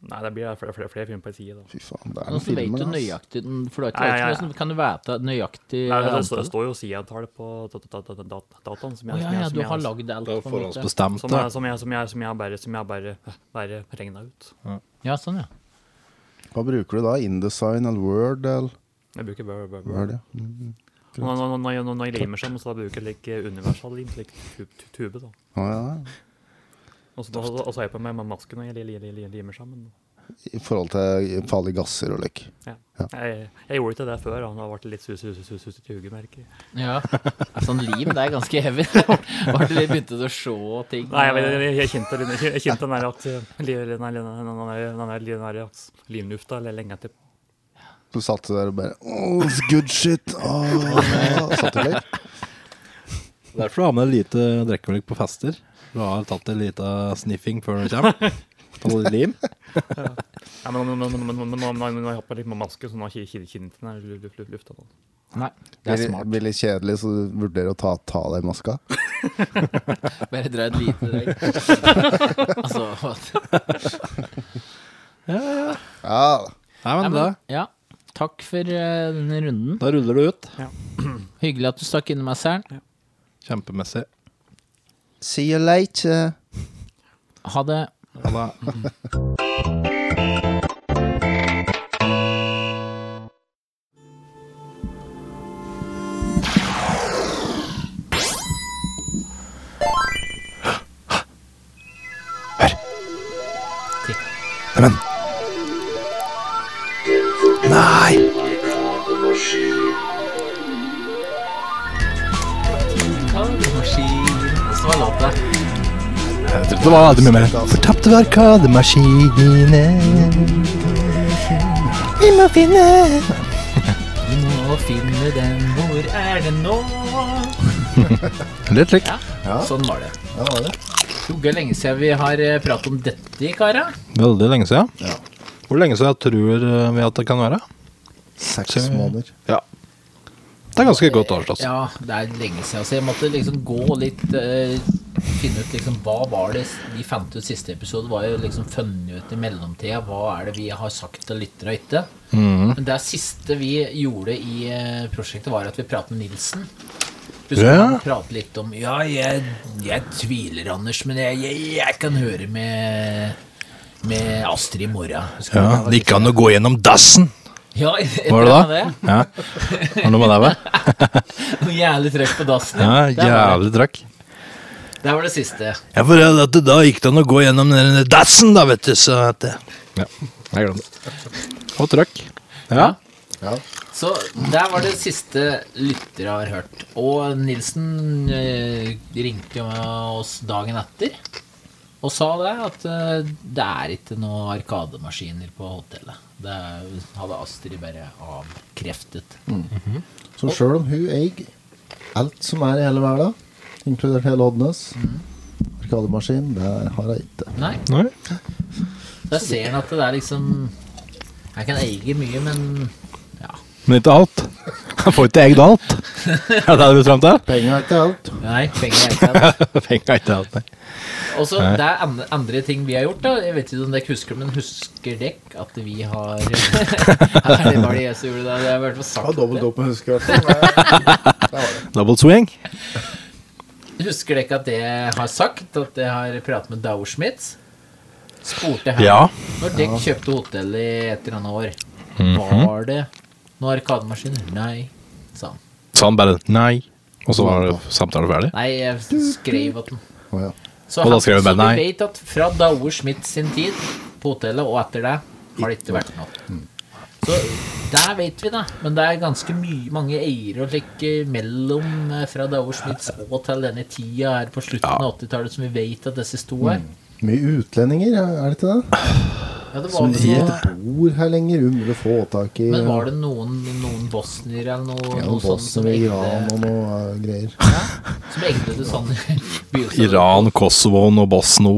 Nei, det blir flere, flere, flere filmer på en side. da. Fy faen, det er Og noen så vet filmer. du Altså. nøyaktig For du har ikke Nei, laget nei, noe, så kan du vite nøyaktig Nei, det, sånn. står- det antall. står jo sidetallet på da- da- da- da- da- dataen. Å som jeg- ja, som jeg- ja, som du jeg- har lagd alt. Det er på en måte. forhåndsbestemt, Som da. jeg, som jeg, som jeg, som jeg bare, som jeg bare, bare regna ut. Ja, sånn, ja. Hva bruker du da? InDesign eller Word eller Jeg bruker bare, bare, hva er bare. det? Mm. Når, når, når, når, jeg- når jeg limer sammen, så da bruker jeg like universal lim, slik tu- tu- tube. da. Å, ja. Og så og så- og så har jeg på meg maske når jeg li- li- li- limer sammen. I forhold til farlige gasser og lik. Ja. Jeg, jeg gjorde ikke det før, da. Det har vært litt sus- sus- sus- susete hugge, merker jeg. Ja. Sånn liv, det er ganske heavy. [LAUGHS] Var det litt begynte du å se ting? Nei, jeg, jeg, jeg, jeg, kjente, den- jeg kjente den der at eh, li- den der- den der- den der- den der- den der at linlufta eller lenge etter. Så satt du der og bare Oh, it's good shit! [LAUGHS] Oh. Satt du der? Derfor har man lite drikkemelk på fester. Du har tatt en liten sniffing før du kommer. Ta litt lim. Nei, men, men, men, men, men, men, men, men, men nå har jeg hatt på litt maske, så nå har jeg ikke kjent den der lu- lu- lu- lufta. nå. Nei, det er Blir, smart. blir litt kjedelig, så du vurderer å ta, ta av deg maska. Bare dra et lite drag. altså, hva- Ja, Nei, Nei, men da, men, ja. Takk for eh, denne runden. da ruller du ut. Hyggelig at du stakk innom meg, Søren. Kjempemessig. See you later. Ha det. Ja, da. Det var aldri mye mer. Fortapte arkademaskiner Vi må finne Nå finner den, hvor er den nå? Litt slik. Sånn var det. Ja, det var det. Jogge lenge siden vi har eh, pratet om dette, kara. Veldig lenge siden. Hvor lenge siden tror vi at det kan være? Seks Så- måneder. Det er ganske godt årstid. altså. Ja, det er lenge siden, så jeg måtte liksom gå litt eh, Finne ut liksom hva var det vi fant ut siste episode. Var jo liksom funnet ut i mellomtida hva er det vi har sagt til lyttere og ikke. Mhm. Men det siste vi gjorde i eh, prosjektet, var at vi pratet med Nilsen. Husker Ja. han pratet litt om Ja, jeg, jeg tviler, Anders, men jeg, jeg, jeg kan høre med med Astrid i morgen. Husker Ja, han var det gikk an å gå gjennom dassen. litt- Ja, [LAUGHS] Var det da? Ja. Har noe med det å være? Noe jævlig trøkk på dassen. Ja, Der var [LAUGHS] det. jævlig trøkk. Der var det siste. Jeg får høre at det da gikk det an å gå gjennom den der dassen, da, vet du. Så at det Ja, jeg glemte det. Og trøkk. Ja. Så der var det siste lyttere har hørt. Og Nilsen eh, ringte jo oss dagen etter og sa det at eh, det er ikke noen arkademaskiner på hotellet. Det er- hadde Astrid bare avkreftet. Så sjøl om hun eier alt som er i hele verden, inkludert hele Oddnes Arkademaskin, det har hun ikke. Nei, Nei. der ser han at det er liksom Jeg kan eie mye, men Men ikke alt. Jeg får ikke egg alt. Er det det du fram [LAUGHS] til? Penger er ikke alt. Nei, penger er [LAUGHS] ikke alt. Penger er ikke alt, nei. Og så det er andre, andre ting vi har gjort da Jeg vet ikke om dere husker Men husker dere at vi har [LAUGHS] Nei, det var det jeg som gjorde det Det har jeg i hvert fall Ja, sagt dobbelt det. opp med huskevert. Double swing. Husker dere at jeg har sagt At jeg har pratet med Dauer Schmitz Spurte her Ja. Når dere kjøpte hotell i et eller annet år Var det noen arkademaskiner? Nei, sa han Så han bare nei. Og så var samtalen ferdig. Nei, jeg skrev at den Å ja. Så, Og da skrev han- jeg bare så nei. vi vet at fra Dauer Schmidt sin tid på hotellet og etter det, har det ikke vært noe. Så der vet vi det. Men det er ganske mye, mange eiere å legge mellom eh, fra Dauer Schmidts og til denne tida her på slutten av 80-tallet som vi vet at disse sto her. Mm. Mye utlendinger, er det ikke det? Ja, det var Som vel noe, ikke bor her lenger, umulig å få tak i. men var det noen, noen bosniere eller noe, ja, noe sånt som Bosnia, Iran egde, og noe eh, greier. som egde det sånn [LAUGHS] begynnelsen? Iran, Kosovo og Bosno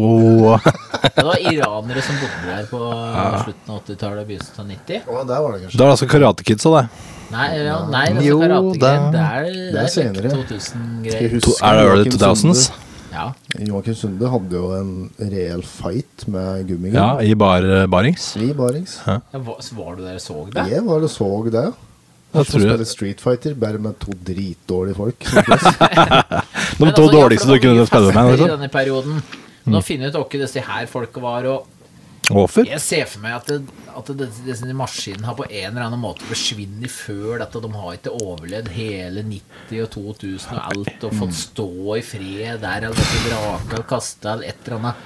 [LAUGHS] Det var iranere som bodde der på slutten av 80-tallet og begynnelsen av 90. Å, der var det kanskje. Det er altså Karate Kids og det. Nei, ja, nei altså, Jo, karategreier, da. det er, det er senere. senere. 2000 Jeg greier. To, husker er det early Joakim 2000s? Sunde- Ja. Joakim Sunde hadde jo en reell fight med gummigun. Ja, i bar, eh, barings. I Barings. Ja, hva- så Var du der og så det? Jeg var og så det. Jeg Som tror spiller jeg. Street Fighter, bare med to dritdårlige folk. Ikke De Men to altså, ja, for dårligste du det var kunne mye spille med. fester I Liksom. Mm. denne perioden. Nå finner vi ut hvem disse her folka var, og Offer? jeg ser for meg at, det, at det, disse maskinene har på en eller annen måte forsvinner før dette. De har ikke overlevd hele 90 og 2000 og alt og Mm. fått stå i fred der altså, eller blitt vraka eller kasta eller et eller annet.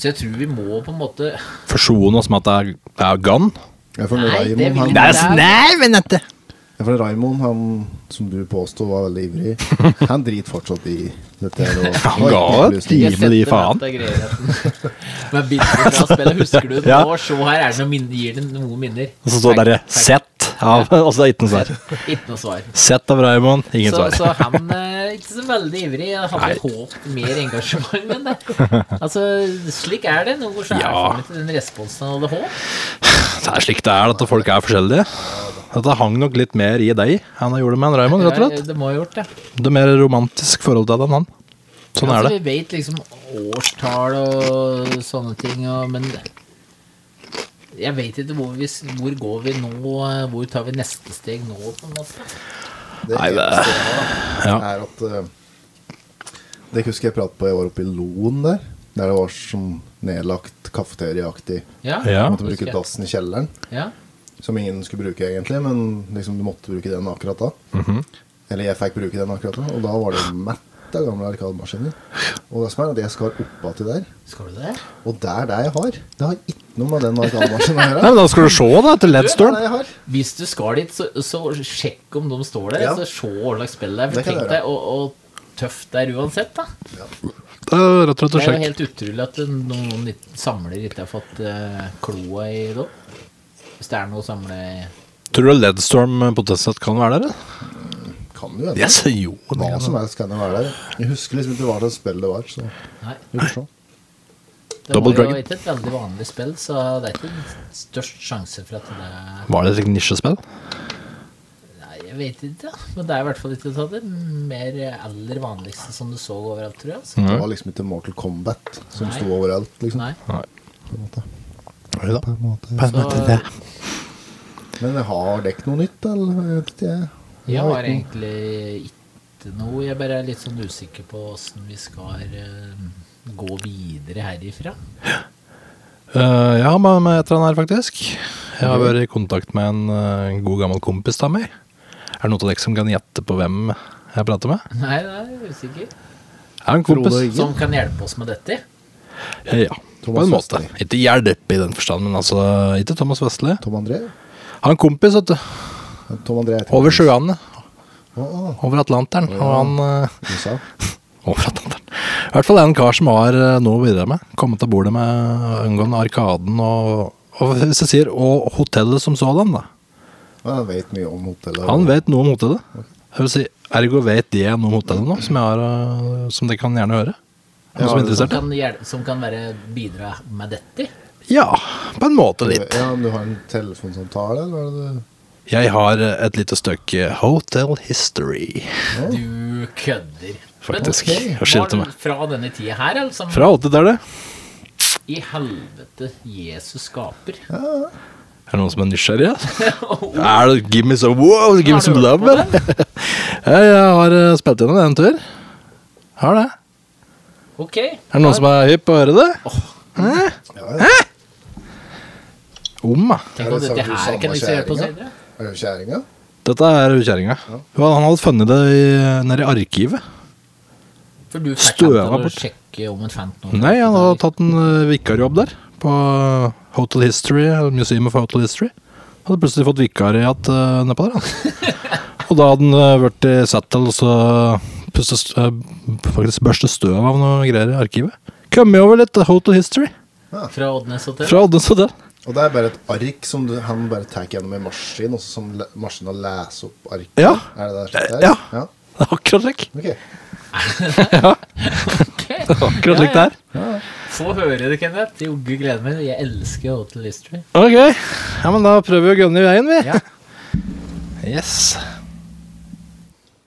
Så jeg tror vi må på en måte Forsone oss med at det er, det er gun? Jeg får en Nei, det Raimond, vil han, jeg ikke. jeg får en Raimond, han som du påstod var veldig [LAUGHS] ivrig, han driter fortsatt i dette her. og- Han ga og- et gi med de faen. [LAUGHS] Men bilder fra spillet, husker du det Ja. nå? Se her er det noen minner, gir det noen minner. Og så står det der [LAUGHS] 'sett' av [LAUGHS] Og så er det ikke noe svar. Ikke noe svar. Sett av Raymond, ingen Så, så svar. han eh, er ikke så veldig ivrig. Jeg hadde håpet mer engasjement, [LAUGHS] men det. Altså, slik er det. Noen ganger så er Ja. det ikke den responsen han hadde håpet. [LAUGHS] Det er slik det er, at folk er forskjellige. Dette hang nok litt mer i deg enn det gjorde med en Raymond, rett og slett. Ja, Det må ha gjort det. Det er mer romantisk forhold til det enn han. Sånn er altså, det. Vi vet liksom årstall og sånne ting, og, men jeg vet ikke hvor, vi, s- hvor går vi nå, eh, hvor tar vi neste steg nå, på en måte. Det Nei, det- eneste jeg har, Ja. er at eh, Det husker jeg pratet på, jeg var oppe i Loen der. Der det var sånn nedlagt kafeteriaaktig. Ja, Ja. Måtte husker bruke jeg. dassen i kjelleren. ja. Som ingen skulle bruke egentlig, men liksom du måtte bruke den akkurat da. Eller jeg fikk bruke den akkurat da, og da var det mett drittlett av gamle arkademaskiner. Og det som er at jeg skal oppa til der. Skal du det? Og det er det jeg har. Det har ikke noe med den arkademaskinen å Nei, gjøre. men Da skal du se, da, etter Det er Ledstone. det jeg har. Hvis du skal dit, så, så sjekk om de står der. Ja. Så se hva slags spill det er. Det For kan tenk jeg deg og, og tøft det er uansett, da. Det er rett og slett å Det er jo sjekke. helt utrolig at noen, noen litt- samler ikke har fått eh, kloa i det. Hvis det er noe å samle Tror du Ledstorm potensielt kan være der? eller? Kan du hende. Jeg sier jo det. altså- Hva som helst kan det være der. Jeg husker liksom ikke hva slags spill det var. Så Nei. vi får se. Det Double var jo Dragon. ikke et veldig vanlig spill, så det er ikke størst sjanse for at det er Var det et slikt nisjespill? Nei, jeg vet ikke, ja. men det er i hvert fall ikke av det mer aller vanligste som du så overalt, tror jeg. Altså. Det var liksom ikke Mortal Kombat som Nei. sto overalt, Mm. liksom. Nei. På en måte. Oi da. På en måte. Så, Men har dere noe nytt, eller? Jeg vet ikke, jeg. jeg vet har ikke. egentlig ikke noe. Jeg bare er litt sånn usikker på åssen vi skal eh, gå videre herifra. [LAUGHS] Eh, jeg har med, med et eller annet her, faktisk. Jeg har vært i kontakt med en eh, god gammel kompis av meg. Er det noen av dere som kan gjette på hvem jeg prater med? Nei, det er jeg usikker. Jeg har en kompis. Frode Eggen. Som kan hjelpe oss med dette. Eh, Ja, på Thomas en måte. Vestli. Ikke hjelp i den forstand, men altså ikke Thomas Vestli. Tom André? Jeg har en kompis vet du, Tom André heter over sjøene, Å, å, over Atlanteren. Og han eh, [LAUGHS] du sa. Over Atlanteren. I hvert fall en kar som har eh, noe å bidra med. Kommet av bordet med eh, angående Arkaden og, og hvis jeg sier, og hotellet som sådan, da. Ja, Han vet mye om hotellet. Han vet noe om hotellet. Jeg vil si, ergo vet de noe om hotellet nå, som, jeg har, eh, som de kan gjerne høre. Er det Noen som er Som interessert? kan, hjel- som kan være bidra med dette. Ja, på en måte litt. Ja, men du har en telefonsamtale, eller hva er det du Jeg har eh, et lite stykke Hotel History, Du kødder. faktisk. Men, Og skilte var meg. det fra denne tida her, altså. Fra 80-tallet. I helvete, Jesus skaper. Er det noen som er [LAUGHS] nysgjerrig? Er det Give me some wow, give me Har du some hørt love? på eller? [LAUGHS] Jeg jeg har eh, spilt gjennom det en tur. Har det. Ok. Er det noen som er hypp på å høre det? Hæ? Hæ? Om, da. Tenk om Er det dette sånn du her kan savner vi se på kjæringa? senere. Er det kjæringa? Dette er kjerringa. Han hadde funnet det i, nede i arkivet. For du fikk Støva ham til å bort. sjekke om en fant noe. Nei, han hadde tatt en eh, vikarjobb der. På eh, Hotel History, eh, Museum of Hotel History. Hadde plutselig fått vikariat eh, nedpå der. Han. Og da hadde han eh, vært i Sattel og så pustet st- eh, faktisk børste støv av noe greier i arkivet. Kommet over litt eh, Hotel History Fra Oddnes hotell. fra Oddnes Hotel. Og det er bare et ark som du, han bare tar gjennom en maskin, og så som le- maskinen leser opp arket? Ja. Eh, Er det der? slik det er? Ja. ja. Det er [LAUGHS] akkurat slik. Ok. Det er akkurat slik det er. Få høre det, Kenneth. Det Jogge gleder meg. Jeg elsker Hotel History. Ok, ja, men da prøver vi å gønne i veien, vi. Yes.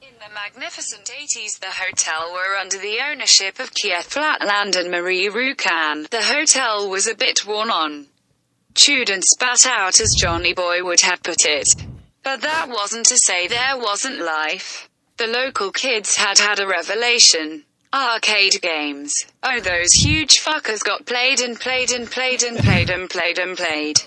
In the magnificent 80s, the hotel were under the ownership of Keith Flatland and Marie Rukan. The hotel was a bit worn on, chewed and spat out, as Johnny Boy would have put it. But that wasn't to say there wasn't life. The local kids had had a revelation. Arcade games. Oh, those huge fuckers got played and played and played and played and played and played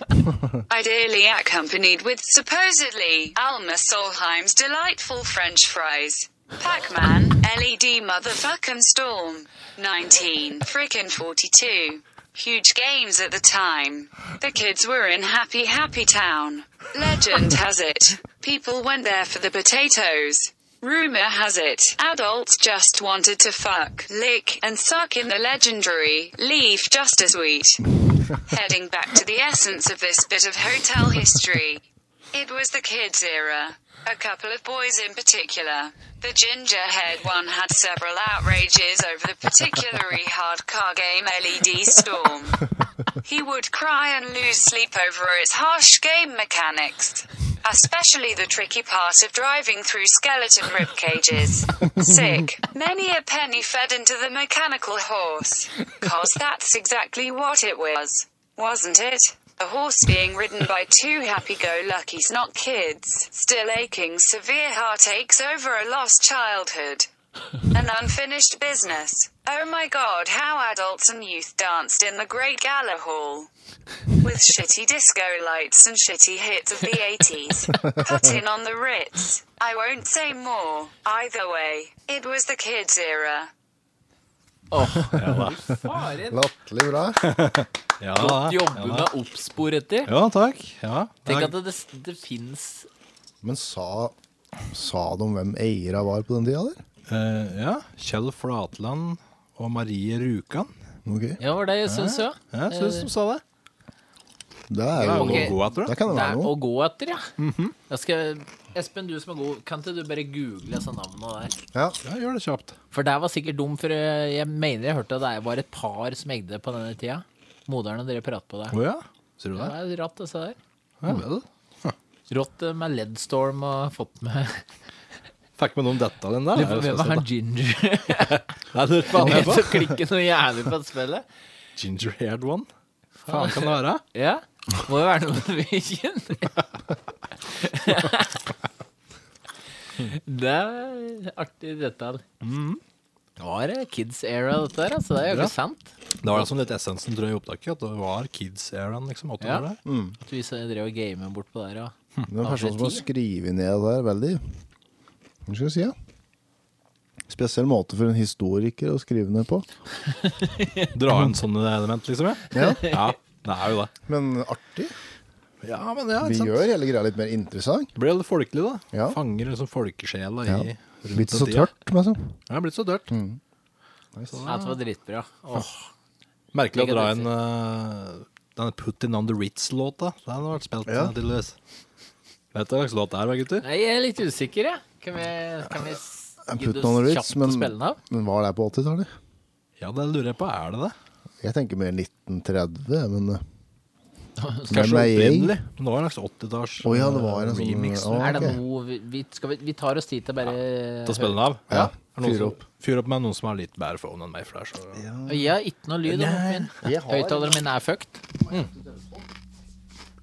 ideally accompanied with supposedly Alma Solheim's delightful French fries. Pac-Man, LED motherfucking storm. 19, frickin' 42. Huge games at the time. The kids were in happy happy town. Legend has it, people went there for the potatoes. Rumor has it, adults just wanted to fuck, lick, and suck in the legendary Leaf Justice Wheat heading back to the essence of this bit of hotel history. It was the kids' era. A couple of boys in particular. The ginger haired one had several outrages over the particularly hard car game LED Storm. He would cry and lose sleep over its harsh game mechanics, especially the tricky part of driving through skeleton rib cages. Sick. Many a penny fed into the mechanical horse, cause that's exactly what it was, wasn't it? A horse being ridden by two happy-go-lucky snot kids, still aching severe heartaches over a lost childhood an unfinished business, Oh my god, how adults and youth danced in the Great Gala Hall. With shitty disco lights and shitty hits of the 80s. Cut in on the Ritz. I won't say more. Either way, it was the kids' era. Åh, fy faren. Latterlig bra. Ja, Godt jobbe ja, med oppspor etter. Ja, takk. Ja. Tenk at det, det fins Men sa, sa de hvem eierne var på den tida, der? Eh, ja. Kjell Flatland og Marie Rjukan. Ja, var det jeg syns, ja. Ja, synes de sa det. Det Det er er Mhm. jo noe å gå etter, da. Det kan det være å noe. gå etter, ja. jeg skal, Espen, du som er god, kan ikke du bare google disse navnene der? Ja. Ja, gjør det kjapt. For der var sikkert dum, for eh, jeg mener jeg hørte at det var et par som egde på denne tida. Moderne, dere prater på det. Å ja. Ser du Ja, det? det er rått, disse der. Ja, det er det. Rått eh, med Leadstorm og fått med Fikk med noen detaljen der. det er jo Hvem er spesielt, han da. Ginger? Nei, det faen jeg Jeg på. [LAUGHS] så klikker noe jævlig på spillet. Ginger haired one. Faen kan det være? Ja. Må jo være noe Norwegian. det er artig detalj. Det var eh, kids era, dette her. Altså, det er jo Ja. ikke sant. Det var liksom litt essensen tror jeg, i opptaket. At det var kids eraen. liksom, åtte Ja. år der. At vi så drev og gamet bort på der. Og. Det er en person som har Aperitif. skrevet ned det der veldig Hva skal jeg si, ja? Spesiell måte for en historiker å skrive ned på. Mm. Dra inn sånne element, liksom. Ja. ja, det er jo det. Men artig. Ja, men ja, Vi gjør hele greia litt mer interessant. Det blir litt folkelig, da. Ja. Fanger liksom folkesjela i Ja. rundt Litt den så tida. tørt, liksom. Ja, det er blitt så tørt. Ja, det var dritbra. Åh, Merkelig å Like dra at det- inn eh, denne Puttin on the Ritz-låta. Den har vært spilt Ja. eh, tydeligvis. Vet du hva slags låt det er, hva, gutter? Nei, jeg er litt usikker, jeg. Kan vi, kan vi s- Jeg gidde putter noen roots, oss kjapt å men- spille den av? Men var det på 80-tallet? Ja, det lurer jeg på. Er det det? Jeg tenker mer 1930, men eh, [LAUGHS] Kanskje Nei, jeg- opprinnelig. Men det var en slags 80-talls Å ja, det var en eh, sånn- remix. ja. Er det ok. noe vi, vi, skal vi, vi tar oss tid til bare Til å spille den av? Ja. Er det noen Fyr som- opp. Fyr opp med noen som har litt bedre phone enn meg. For det er så... Og Jeg har ikke noe lyd. Nei. Min. Jeg har- Høyttaleren min er fucked.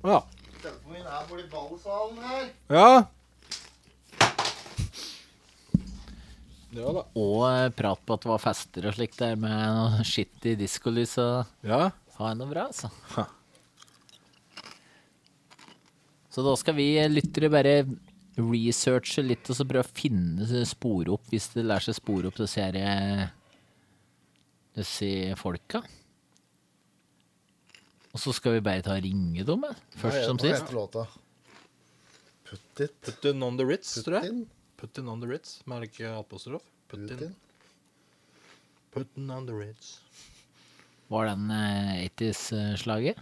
ja. Telefonen min er borti ballsalen her. ja. Ja da. Og eh, prat på at det var fester og slikt der med noe shit i diskolys og Ja. Ha det noe bra, altså. Ha. Så da skal vi eh, lyttere bare researche litt og så prøve å finne s- spore opp, hvis det lærer seg spore opp disse her eh, disse folka. Og så skal vi bare ta og ringe dem, eh, først som sist. Låta. Put it Put in on the Ritz, tror jeg. in. Put in on the Ritz, eh, med ikke apostrof. Put Put in. in. Put in on the Ritz. Var den eh, 80s-slaget?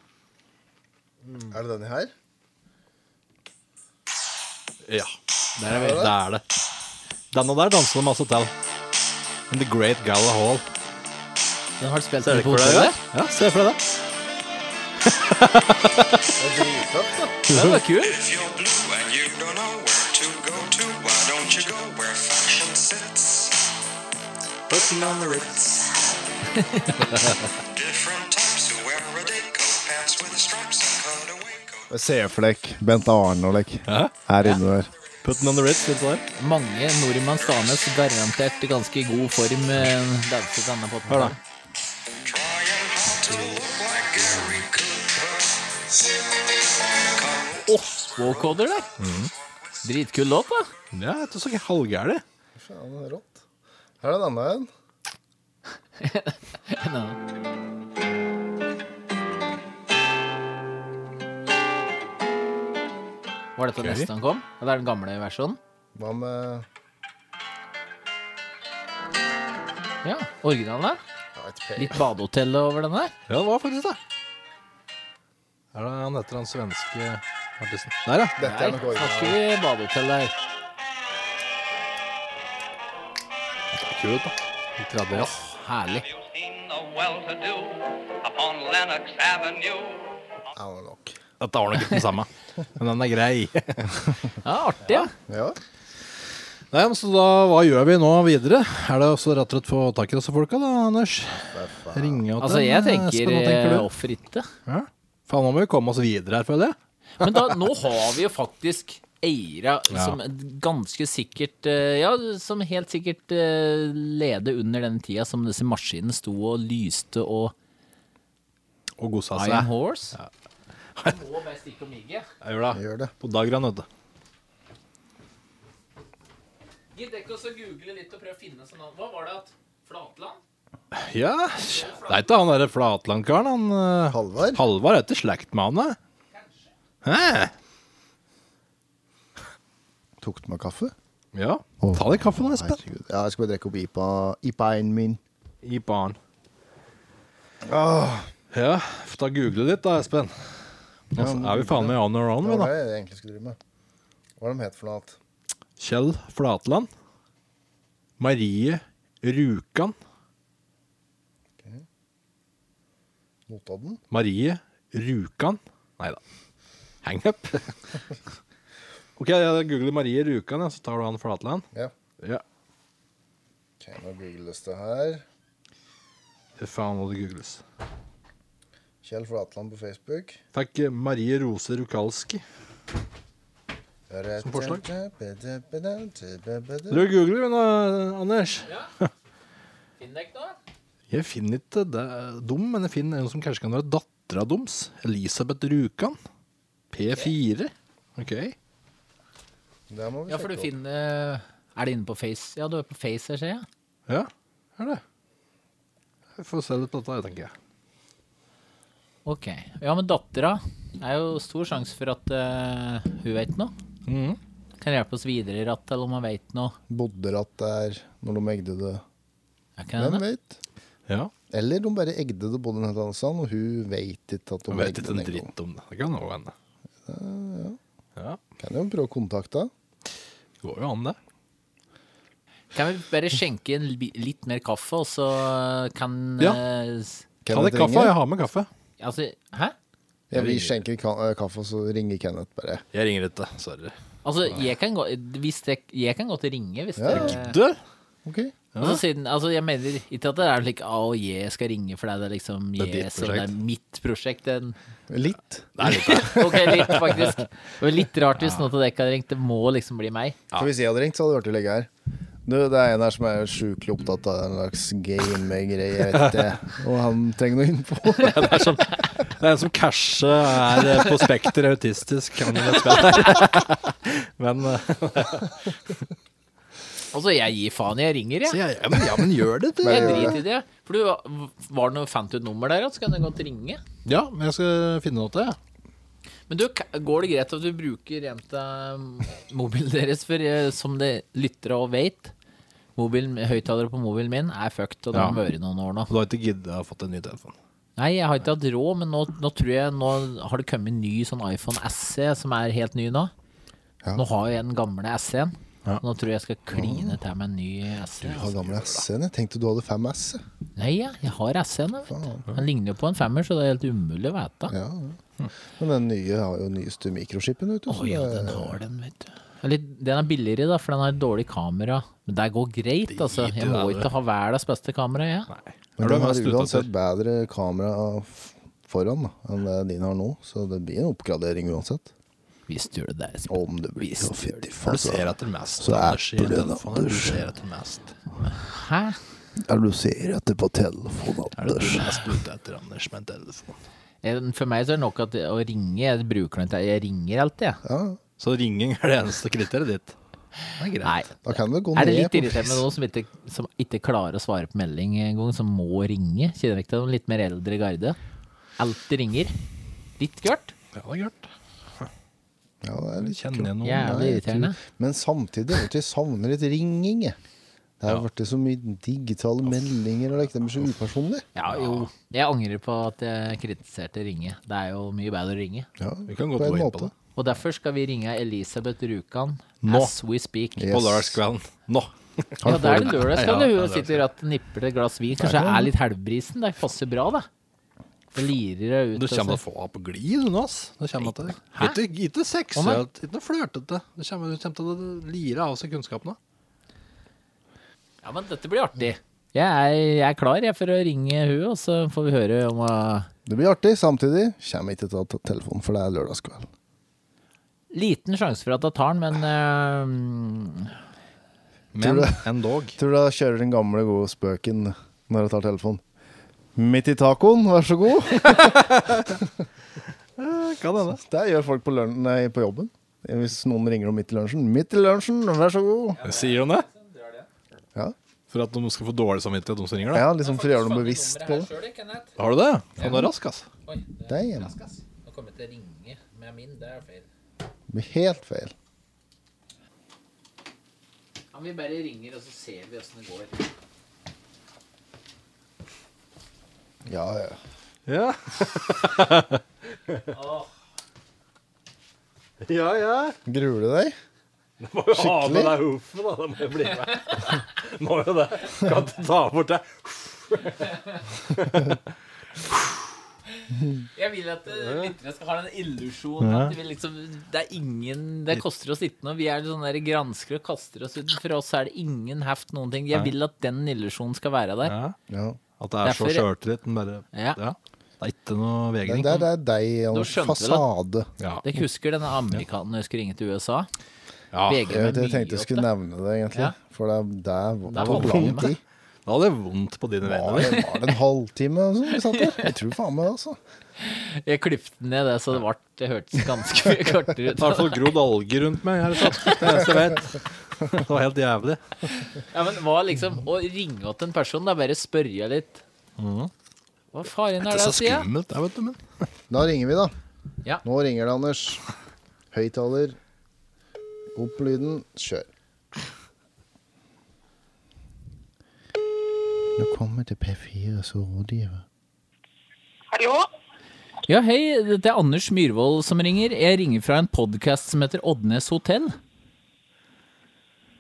Mm. Er det denne her? Ja. Det er det. det, er det. Denne der danser de masse til. In the Great Gala Hall. Den har du spilt Ser du i ikke for deg det? hotellet? Ja, ser for deg det. Det er dritfett, da. Den var kul! If you're blue and you don't know where to go to, why don't you go where fashion sits? Putting on the Ritz. Different types who wear a day coat, pants with stripes and cutaway coat. Seflekk, Bent Arnolek, Ja. her inne der. Put in on the Ritz, vet du hva det er? Mange nordmanns dames garantert i ganske god form eh, danset denne på Hør da. Trying hard to look like Gary Cooper. Åh, vocoder der. Mm. Dritkul [LAUGHS] låt, da. Ja, jeg tror så ikke halvgærlig. Faen, det er rått. Her er en annen en. Var dette neste han kom? Ja, det er den gamle versjonen? Hva med Ja, originalen der. ja, et fe- Litt badehotell over den der. Ja, det var faktisk det. Er det han heter han svenske artisten? Der, ja. Dette Nei, er nok snakker originalen. vi badehotell der. Kult, da. I 30 år. Herlig. Ja, det er nok. Dette var nok ikke den samme, [LAUGHS] men den er grei. Ja, artig, ja. Ja. Nei, men Så da, hva gjør vi nå videre? Er det også rett og slett få tak i disse folka, da, Anders? Ringe og Altså, jeg Espen, tenker hva eh, tenker du? offer ikke. Ja? Faen, nå må vi komme oss videre her, føler jeg. Men da, nå har vi jo faktisk eiere Ja. som ganske sikkert eh, Ja, som helt sikkert eh, levde under den tida som disse maskinene sto og lyste og Og gosa seg. Iron Horse. Må bare stikke og migge. Jeg gjør det. På dagran, vet du. Gidd ikke også google litt og prøve å finne sånn Hva var det at Flatland? Ja, det er ikke han derre Flatland-karen, han eh, Halvard? Halvard er ikke i slekt med han, da? Hæ? Tok du meg kaffe? Ja. Ta deg kaffe nå, Espen. Herregud. Ja, jeg skal bare drikke opp IPA, IPA-en min. IPA-en. Ja, får ta google litt da, Espen. Nå Ja, må er vi faen meg on our own, Det vi, var da. det jeg egentlig skulle drive med. Hva er de het for noe annet? Kjell Flatland. Marie Rjukan. Notodden? Marie Rjukan. Nei da. Hang up. [LAUGHS] OK, jeg googler Marie Rjukan, ja, så tar du han Flatland. Ja. Ja. Ok, nå googles det her. Fy faen, må det googles. Kjell Flatland på Facebook. Takk, eh, Marie Rose Rukalski. Som forslag. Du googler, men, eh, Anders. Finn deg ikke noe? Jeg finner ikke det er dum, men jeg finner en som kanskje kan være dattera deres. Elisabeth Rjukan. P4. OK. Ja, for du finner Er det inne på Face? Ja, du er på Face her, ser jeg. Ja, er det. Jeg får se litt på dette, her, tenker jeg. Ok. Ja, men dattera er jo stor sjanse for at eh, hun vet noe. Mhm. Kan hjelpe oss videre i rattet, eller om hun vet noe. Bodde ratt der når de egde det. kan Hvem hende. vet? Ja. Eller de bare egde det bodde i et annet sted, og hun vet ikke at de Jeg vet egde ikke en den en gang. dritt om det. Det kan jo hende. Ja. Kan jo prøve å kontakte henne. Går jo an, det. Kan vi bare skjenke en li litt mer kaffe, og så kan Ja. eh, s- Ta deg kaffe. Jeg har med kaffe. Altså, hæ? Ja, vi skjenker ka eh, kaffe, og så ringer Kenneth bare. Jeg ringer ikke. Sorry. Altså, jeg kan, gå, hvis det, jeg kan godt ringe hvis Ja. det Gidder? Ok. Altså, siden, altså, jeg mener ikke at det er slik Å, jeg skal ringe for deg, det er liksom Det er ditt jeg, så det er prosjekt. mitt prosjekt. Det er en, Litt. Det er litt, da. [LAUGHS] ok, litt, faktisk. Det var litt rart hvis noen av dere hadde ringt. Det må liksom bli meg. For hvis jeg hadde ringt, så hadde det vært å legge her. Du, det er en her som er sjukelig opptatt av en slags game-greie, jeg vet [LAUGHS] det. Og han trenger noe info. Det er, som, det er en som kanskje er eh, på spekter autistisk. Kan jeg vet ikke. [LAUGHS] Men eh, Altså, jeg gir faen, jeg ringer, jeg. Så jeg- ja, men- ja, men gjør det, du. Jeg Bare gjør driter i det. For du, var det noe fant du et nummer der, så kan jeg godt ringe. Ja, men jeg skal finne noe til det. Men du, ka- går det greit at du bruker jenta mm, mobilen deres, for eh, som de lyttere og vet, mobilen, høyttalere på mobilen min er fucked, og det har vært noen år nå. Du har ikke giddet å ha fått en ny telefon. Nei, jeg har ikke hatt råd, men nå, nå tror jeg Nå har det kommet en ny sånn iPhone SE som er helt ny nå. Nå har jeg den gamle SE-en. Nå tror jeg jeg skal kline til med en ny SE. Du har gamle S-en. Jeg tenkte du hadde 5S. Nei, ja, jeg har SE-en. jeg, vet du. Den ligner jo på en femmer, så det er helt umulig å vite. Ja, Men den nye har jo nyeste mikrochipen, vet du. Å ja, den har den, vet du. Eller, den er billigere, da, for den har et dårlig kamera. Men det går greit, altså. Jeg må det. ikke ha verdens beste kamera, jeg. Men den har uansett bedre kamera f- foran da, enn det din har nå, så det blir en oppgradering uansett. Hvis du gjør det der, Om det blir så fytti faen, Du så- ser etter mest. Så Anders, i er det den, telefonen. Du Anders. ser etter mest. Hæ? Ja, du ser etter på telefonen, Er det du Anders. mest ute etter Anders med en telefon? Jeg- For meg så er det nok at å ringe Jeg bruker den ikke. Jeg ringer alltid, jeg. Så ringing er det eneste kriteriet ditt? Nei. Da kan det gå Er det ned litt på irriterende med pris. noen som ikke, som ikke klarer å svare på melding engang, som må ringe? Kjenner ikke til de litt mer eldre garde? Alltid ringer. Litt gørt. Ja, det er gørt. Ja, det er litt Kjenner jeg noen? Nei, jeg Jævlig tror- irriterende. Men samtidig vet du, jeg savner litt ringing. jeg. Det har blitt så mye digitale meldinger, og det er ikke- det blir så upersonlig. Ja, jo. Jeg angrer på at jeg kritiserte ringe. Det er jo mye bedre å ringe. Ja, Vi kan godt på en gå inn på måte. det. Og derfor skal vi ringe Elisabeth Rjukan Nå. as we speak. På lørdagskvelden. Nå! Ja, det er det lørdagskveld. Ja, Hun det er sitter i rattet, nipper til et glass vin. Kanskje Nei, er litt helvbrisen. Det passer bra, da. Det lirer deg ut. Du kommer til å altså. få henne på glid, du nå. ass. Du kommer til Hæ? Ikke- Ikke Å, nei. seksuelt, ikke noe flørtete. Du kommer, du kommer til å lire av seg kunnskapene. Ja, men dette blir artig. Jeg er, jeg er klar jeg, for å ringe hun, og så får vi høre om uh, Det blir artig. Samtidig kommer jeg ikke til å ta telefonen, for det er lørdagskveld. Liten sjanse for at jeg tar den, men eh, Tror du- endog. Tror du da kjører den gamle, gode spøken når jeg tar telefonen? Midt i tacoen, vær så god. [LAUGHS] kan hende. Det gjør folk på, løn- nei, på jobben. Hvis noen ringer om midt i lunsjen. Midt i lunsjen, vær så god. [LAUGHS] Sier de det? Ja. For at de skal få dårlig samvittighet, de som ringer? Ja, liksom for å gjøre noe bevisst på det. Har du det? Faen, du er rask, ass. Oi, det Damn. er rask, ass. Nå kommer jeg til å ringe med min. Det er feil. Det blir helt feil. Ja, vi bare ringer, og så ser vi åssen det går. Ja, ja. Ja. [LAUGHS] ja, ja. Gruer du deg? Må jo ha med Skikkelig? deg hofen, da. Det må jo bli [LAUGHS] med. Må jo det. Kan ikke ta bort det. Jeg vil at eh, lyttere skal ha den illusjonen Ja. at vi liksom, det er ingen Det koster oss ikke noe. Vi er sånne der granskere og kaster oss ut. For oss er det ingen heft, noen ting. Jeg Nei. vil at den illusjonen skal være der. At det er så Derfor- sjøltilliten bare Ja. ja. Det er ikke noe Det, vegring. det, det er deg, Nå Anders. skjønte du Fasade. Ja. Ah, Dere husker denne amerikaneren jeg skulle ringe til USA? Ja. Vegrer Jeg, meg jeg tenkte mye jeg opp skulle det. nevne det, egentlig. Ja. For det, det, var- Da det var holder jeg lang tid. Da hadde jeg vondt på dine Var vegne. det, var det en halvtime eller noe sånt vi satt der? Jeg tror faen meg det, altså. Jeg klippet ned det, så det, vart, det hørtes ganske [LAUGHS] mye kortere Det har i hvert ut. fall grodd alger rundt meg. Her, sant? det eneste jeg vet. Det var helt jævlig. Ja, men hva liksom, Å ringe opp en person, da bare spørre litt. Mm. Hva faren Det er er det så jeg sier? skummelt, det, vet du. Men. Da ringer vi, da. Ja. Nå ringer det, Anders. Høyttaler. Opp lyden. Kjør. Nå kommer til P4 som rådgiver. Hallo? Ja, hei, dette er Anders Myhrvold som ringer. Jeg ringer fra en podkast som heter Oddnes hotell.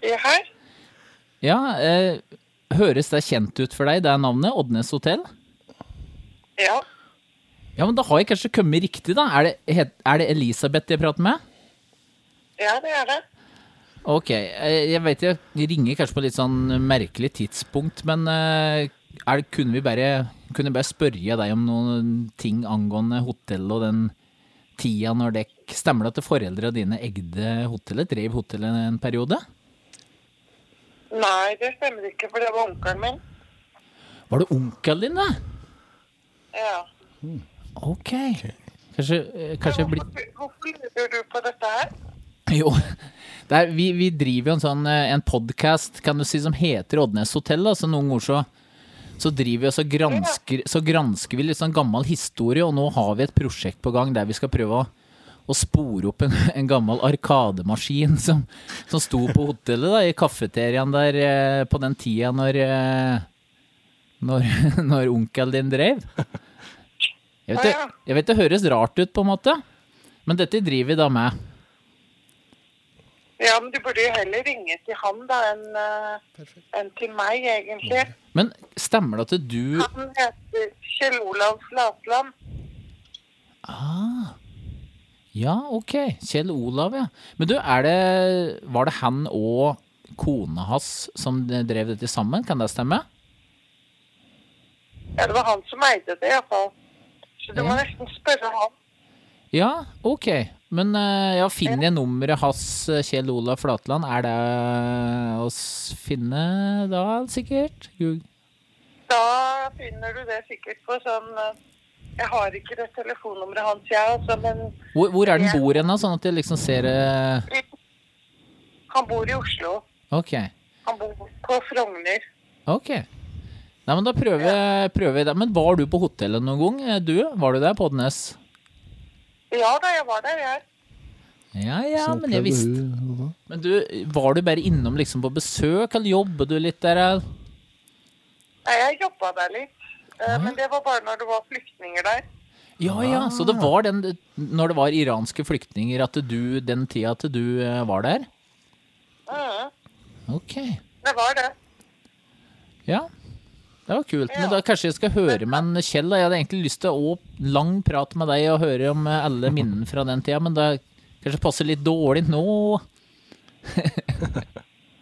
Ja, her? Ja, eh, høres det kjent ut for deg, det er navnet? Oddnes hotell? Ja. Ja, men da har jeg kanskje kommet riktig, da. Er det, het- er det Elisabeth jeg prater med? Ja, det er det. Ok, eh, jeg vet jeg ringer kanskje på litt sånn merkelig tidspunkt, men eh, er det, kunne vi bare, kunne jeg bare spørre deg om noen ting angående hotellet og den tida når det Stemmer det at foreldra dine egde hotellet, drev hotellet en periode? Nei, det stemmer ikke, for det var onkelen min. Var det onkelen din, da? Ja. Ok. Kanskje, eh, kanskje jeg blir Hvorfor, hvorfor lurer du på dette her? [LAUGHS] Jo. Det er, vi, vi driver jo en sånn eh, en podkast kan du si, som heter Oddnes hotell. da, Så noen ganger så, så driver vi og så gransker, så gransker vi litt sånn gammel historie. Og nå har vi et prosjekt på gang der vi skal prøve å, å spore opp en, en gammel arkademaskin som, som sto på hotellet, da, i kafeteriaen der eh, på den tida når eh, når, [LAUGHS] når onkelen din drev. Jeg vet, det, jeg vet det høres rart ut, på en måte, men dette driver vi da med. Ja, men du burde jo heller ringe til han da, enn eh, enn til meg, egentlig. Men stemmer det at du Han heter Kjell Olav Flatland. ah, Ja, ok. Kjell Olav, ja. Men du, er det Var det han og kona hans som drev dette sammen? Kan det stemme? Ja, er det var han som eide det, i hvert fall. Så du må nesten spørre han. Ja, ok. Men eh, ja, finner jeg nummeret hans, eh, Kjell Olav Flatland, er det å s- finne da, sikkert? Gug- Da finner du det sikkert på sånn eh, Jeg har ikke det telefonnummeret hans, jeg, altså, men Hvor, hvor er den bor hen, da, sånn at jeg liksom ser eh, han bor i Oslo. Ok. Han bor på Frogner. Ok. Nei, men da prøver jeg prøver jeg det. Men var du på hotellet noen gang, eh, du? Var du der på Oddnes? Ja da, jeg var der, jeg. Ja, ja, men jeg visste Men du, var du bare innom liksom på besøk, eller jobber du litt der? eller? Nei, jeg jobba der litt. Eh, Men det var bare når det var flyktninger der. Ja, ja, Ah, så det var den, når det var iranske flyktninger, at du, den tida at du eh, var der? Mhm, Ok, det var det. ja. Det var kult, men da kanskje jeg skal høre med en Kjell, da. Jeg hadde egentlig lyst til å lang prat med deg og høre om eh, [LAUGHS] alle minnene fra den tida, men det kanskje passer litt dårlig nå.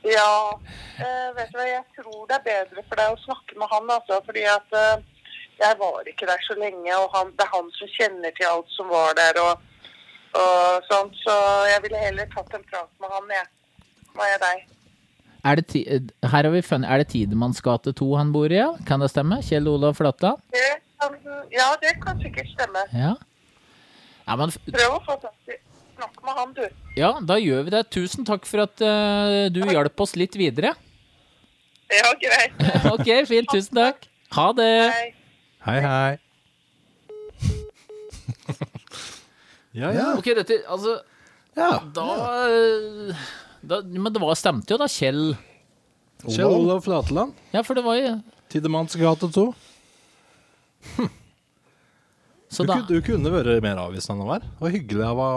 Ja. eh, vet du hva, jeg tror det er bedre for deg å snakke med han, altså. Fordi at eh, jeg var ikke der så lenge, og han, det er han som kjenner til alt som var der, og og sånt, så jeg ville heller tatt en prat med han, jeg. Hva er deg? Er det, ti- eh, her har vi funnet, er det Tidemanns gate 2 han bor i, ja? Kan det stemme? Kjell Olav Flatland? Det kan- Ja, det kan sikkert stemme. Ja. Ja, men, f- Prøv å få tak i Snakk med han, du. ja, da gjør vi det. Tusen takk for at eh, du hjalp oss litt videre. [LAUGHS] Ja, greit. ok, fint. Tusen takk. Ha det. Hei, hei. ja, ja. Ok, dette, altså Da, eh, da Men det var, stemte jo da, Kjell. Kjell Olav Flatland. Ja, for det var jo Tidemanns gate 2. Så du, da- kunne- du kunne vært mer avvisende enn han var. Det var hyggelig av å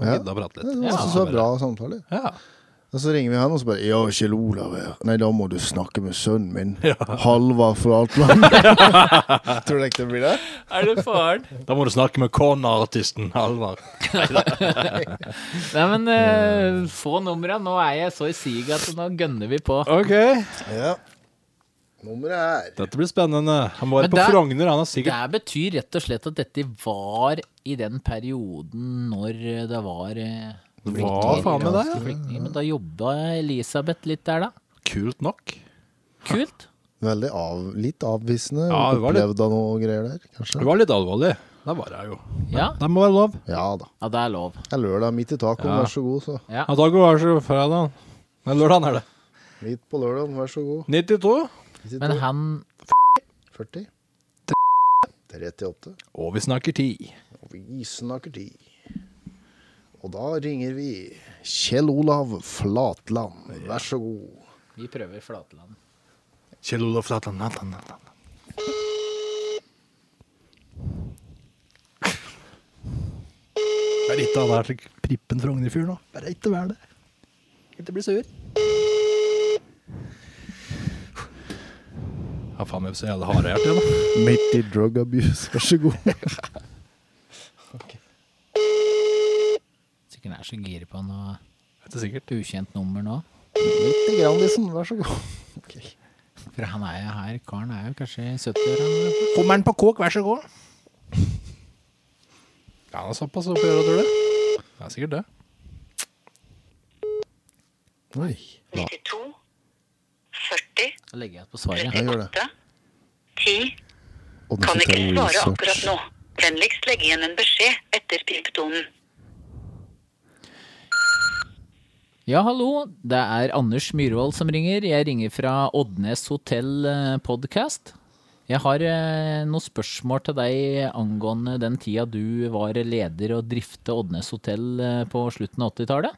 Ja. gidde å prate litt. Det Ja, han var så- Så bare- bra samtale. Og så ringer vi han og så bare Ja, Kjell Olav her. Nei, da må du snakke med sønnen min. Halvard fra Altland. Tror du ikke det blir det? Er det faren? Da må du snakke med cornerartisten Halvard. Nei, men eh, få numra. Nå er jeg så i siget at nå gønner vi på. Ok. Ja. Nummeret er Dette blir spennende. Han var Men på det- Frogner, han er sikkert Det betyr rett og slett at dette var i den perioden når det var eh, Det var flyktninger, faen meg det, ja. iranske flyktninger, Men da jobba Elisabeth litt der, da. Kult nok. Kult. Veldig av, litt avvisende. Ja, Ja, det var litt- Opplevd av noe greier der, kanskje. Det var litt alvorlig. Det var jeg jo. Ja. Det må være lov. Ja da. Ja, det er lov. Det er lørdag midt i tacoen, Ja. vær så god, så. Ja. Ja, da går det så fredag. Nei, lørdag er det. Midt på lørdagen, vær så god. 92. Men han 40. 38. Og vi snakker ti. Og vi snakker ti. Og da ringer vi Kjell Olav Flatland, vær så god. Vi prøver Flatland. Kjell Olav Flatland. Nathan, Nathan. Det er litt av det her slik prippen Frogner-fyr nå. Bare ikke vær det. Ikke bli sur. Ja, faen meg så jævla harde jeg har til nå. Midt i drug abuse, vær så god. Sikkert er så gira på noe Dette er sikkert ukjent nummer nå. [LAUGHS] Midt i Grandisen, vær så god. For han er jo her, karen er jo kanskje i 70-åra. Kommer den på kåk, vær så god. Ja, han er såpass oppi øret, tror du? Det er sikkert det. Oi. 92, 40, Da legger jeg på svaret. Ja, gjør det. 10. Og Kan så tar ikke vi svare research. akkurat nå. Vennligst legg igjen en beskjed etter pipetonen. Ja, hallo. Det er Anders Myhrvold som ringer. Jeg ringer fra Oddnes Hotell Podcast. Jeg har eh, noen spørsmål til deg angående den tida du var leder og drifte Oddnes Hotell eh, på slutten av 80-tallet.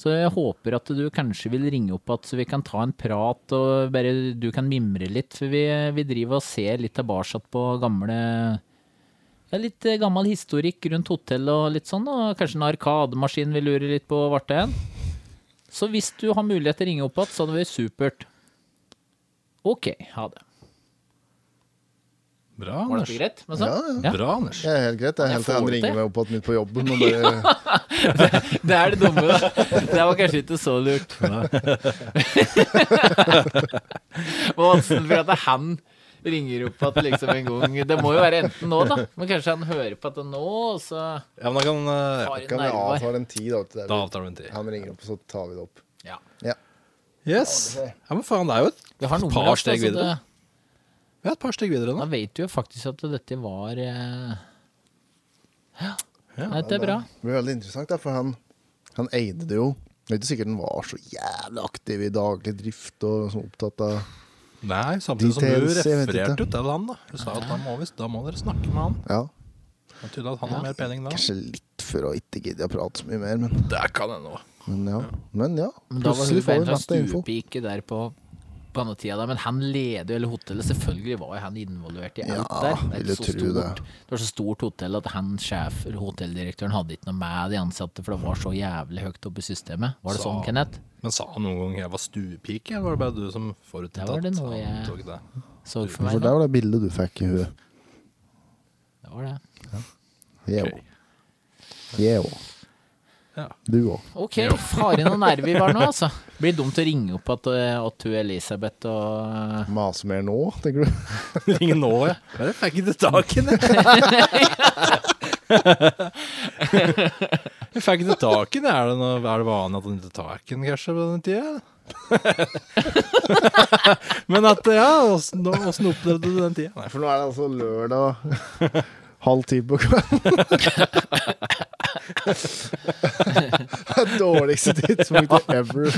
Så jeg håper at du kanskje vil ringe opp at så vi kan ta en prat og bare du kan mimre litt. For vi, vi driver og ser litt tilbake på gamle ja, litt eh, gammel historikk rundt hotell og litt sånn, og kanskje en arkademaskin vi lurer litt på hva det er. Så hvis du har mulighet til å ringe opp igjen, så hadde det vært supert. OK, ha det. Bra, Var sånn? Anders. dette greit? men så? Ja, ja. Ja. Bra, Anders. Det er helt greit. Det er Jeg helt til får han det ringer til. meg opp igjen midt på jobben. Og bare, Det er det dumme, da. Det var kanskje ikke så lurt. [LAUGHS] Og Hansen, for at han ringer opp at liksom en gang Det må jo være enten nå, da. Men kanskje han hører på at det er nå, og så Ja, men da kan eh, har han kan vi nerver. avtale en tid, da? til det? Da avtaler vi en tid. Han ringer opp, og så tar vi det opp. Ja. Ja. Yes. Ja, men faen, det er jo et Vi har nummeret, par steg altså, det- videre. Vi er et par steg videre nå. Da vet du jo faktisk at dette var eh, Ja. Nei, det er bra. Det blir veldig interessant, da, for han, han eide det jo. Det er ikke sikkert han var så jævlig aktiv i daglig drift og sånn opptatt av Nei, samtidig som du Details, jeg vet refererte ikke. ut til han, da. Du sa at da må, vi, da må dere snakke med han. Ja, Det er tydelig at han har mer peiling da. kanskje litt for å ikke gidde å prate så mye mer, men, Det kan hende òg. men ja. Men ja, Men da var hun plutselig får vi bare masse info. stuepike der på på denne tida der, men han leder jo hele hotellet. Selvfølgelig var jo han involvert i alt Ja, der. Det, er vil jeg så tro stort, det. det var så stort hotell at han sjef, eller hotelldirektøren, hadde ikke noe med de ansatte, for det var så jævlig høyt oppe i systemet. Var det Så- sånn, Kenneth? Men sa han noen gang jeg var stuepike, eller var det bare du som Det forutinntatt? var det noe Han jeg tok det. så for For meg. der nå. var det bildet du fikk i huet. Det var det. Jeg òg. Jeg òg. Ja. Du òg. Ok, faren og nerve vi var nå, altså. Blir dumt å ringe opp at, eh, at du, Elisabeth, og Mase mer nå, tenker du? [LAUGHS] Ingen nå, jeg. Bare fikk ikke tak i det. Jeg fikk ikke tak i den. Er det, noe, er det vanlig at han ikke tar tak i den, kanskje, på den tida? [LAUGHS] Men at, ja, åssen nå- åssen opplevde du den tida? Nei, for nå er det altså lørdag [LAUGHS] halv ti på kvelden. det dårligste tidspunktet ever.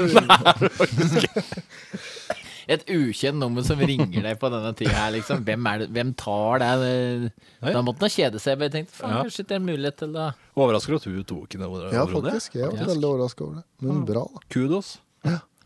Et ukjent nummer som ringer deg på denne tida her, liksom. Hvem, er det, hvem tar deg? eh, Da måtte han kjede seg. Men jeg tenkte faen, Ja. kanskje det er en mulighet til å Overrasker at hun tok den over Ja, over det. faktisk. Jeg var veldig overraska over det. Men bra, da. Kudos.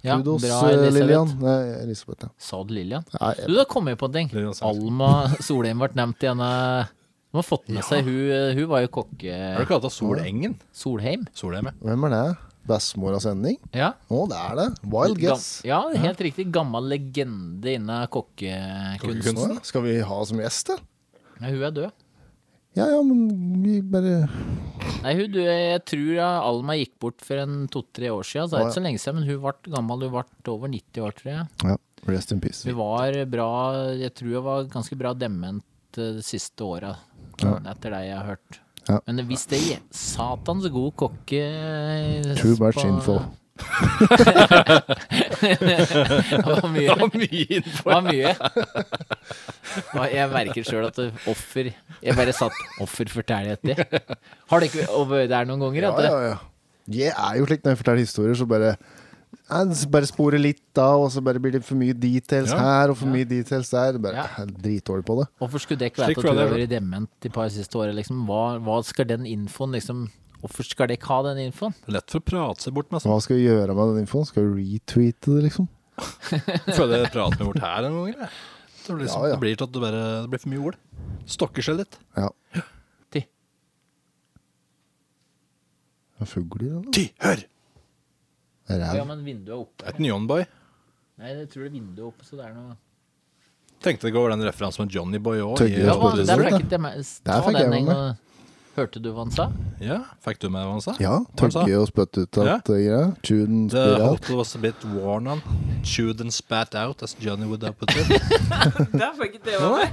Ja, Kudos, bra, eh, Elisabeth. Lillian. Nei, Elisabeth, ja. Sa du Lillian? Nei, Du, da kom jeg på en ting. Alma Solheim ble nevnt i denne De har fått med seg hun, eh, hun var jo kokke... Er det ikke alt av Solengen? Solheim. Solheim, ja. Hvem er det? Bestemora sending? Ja. Å, det er det. Wild guess. Gam- Ja, helt riktig. Gammel legende innen kokkekunsten. Kunstner. Skal vi ha som gjest, da? Ja, hun er død. Ja ja, men vi bare Nei, hun, døde- jeg tror ja, Alma gikk bort for en to-tre år siden. Så det er ikke så lenge siden, men hun ble gammel. Hun ble over 90 år, tror jeg. Ja, rest in peace. Hun var bra Jeg tror hun var ganske bra dement eh, de siste åra, Ja. etter det jeg har hørt. Ja. Men hvis det er satans god kokke eh, Too much på- info. [LAUGHS] det var [LAUGHS] mye. Det var mye info. Det var mye. [LAUGHS] Og Jeg merker sjøl at det- offer Jeg bare satt 'offer forteller etter'. Har det ikke vært der noen ganger? Ja, at det- ja, ja. Jeg er jo slik når jeg forteller historier, så bare jeg s- bare sporer litt da, og så bare blir det for mye details Ja. her og for mye details der. Bare Ja. ja. dritdårlig på det. Hvorfor skulle det ikke være Slik at du tror jeg har det er. vært dement de par siste årene? Liksom? Hva, hva skal den infoen liksom Hvorfor skal dere ikke ha den infoen? Lett for å prate seg bort med. Hva skal vi gjøre med den infoen? Skal vi retweete det, liksom? Føler jeg prater med bort her noen ganger. jeg. Det blir, liksom, Ja, ja. Det, blir til at det, bare, det blir for mye ord. Stokker seg litt. Ja. Ti. Det er fugler, eller? Ti, hør! Ja, men vinduet er oppe. Et neonboy. Nei, jeg tror det er vinduet oppe, så det er noe Tenkte det går over den referansen med Johnny Boy òg. Tøgger Ja, hva, der fikk ikke jeg meg Ta fikk jeg den med en meg. gang. Hørte du hva han sa? Ja, fikk du med hva han sa? Ja, Hva han sa? tørke og spytte ut Ja. alt det greia. Tuden The spyr alt. hotel was a bit worn on. Chewed and spat out, as Johnny would have put [LAUGHS] [LAUGHS] it. Der fikk ikke det med meg.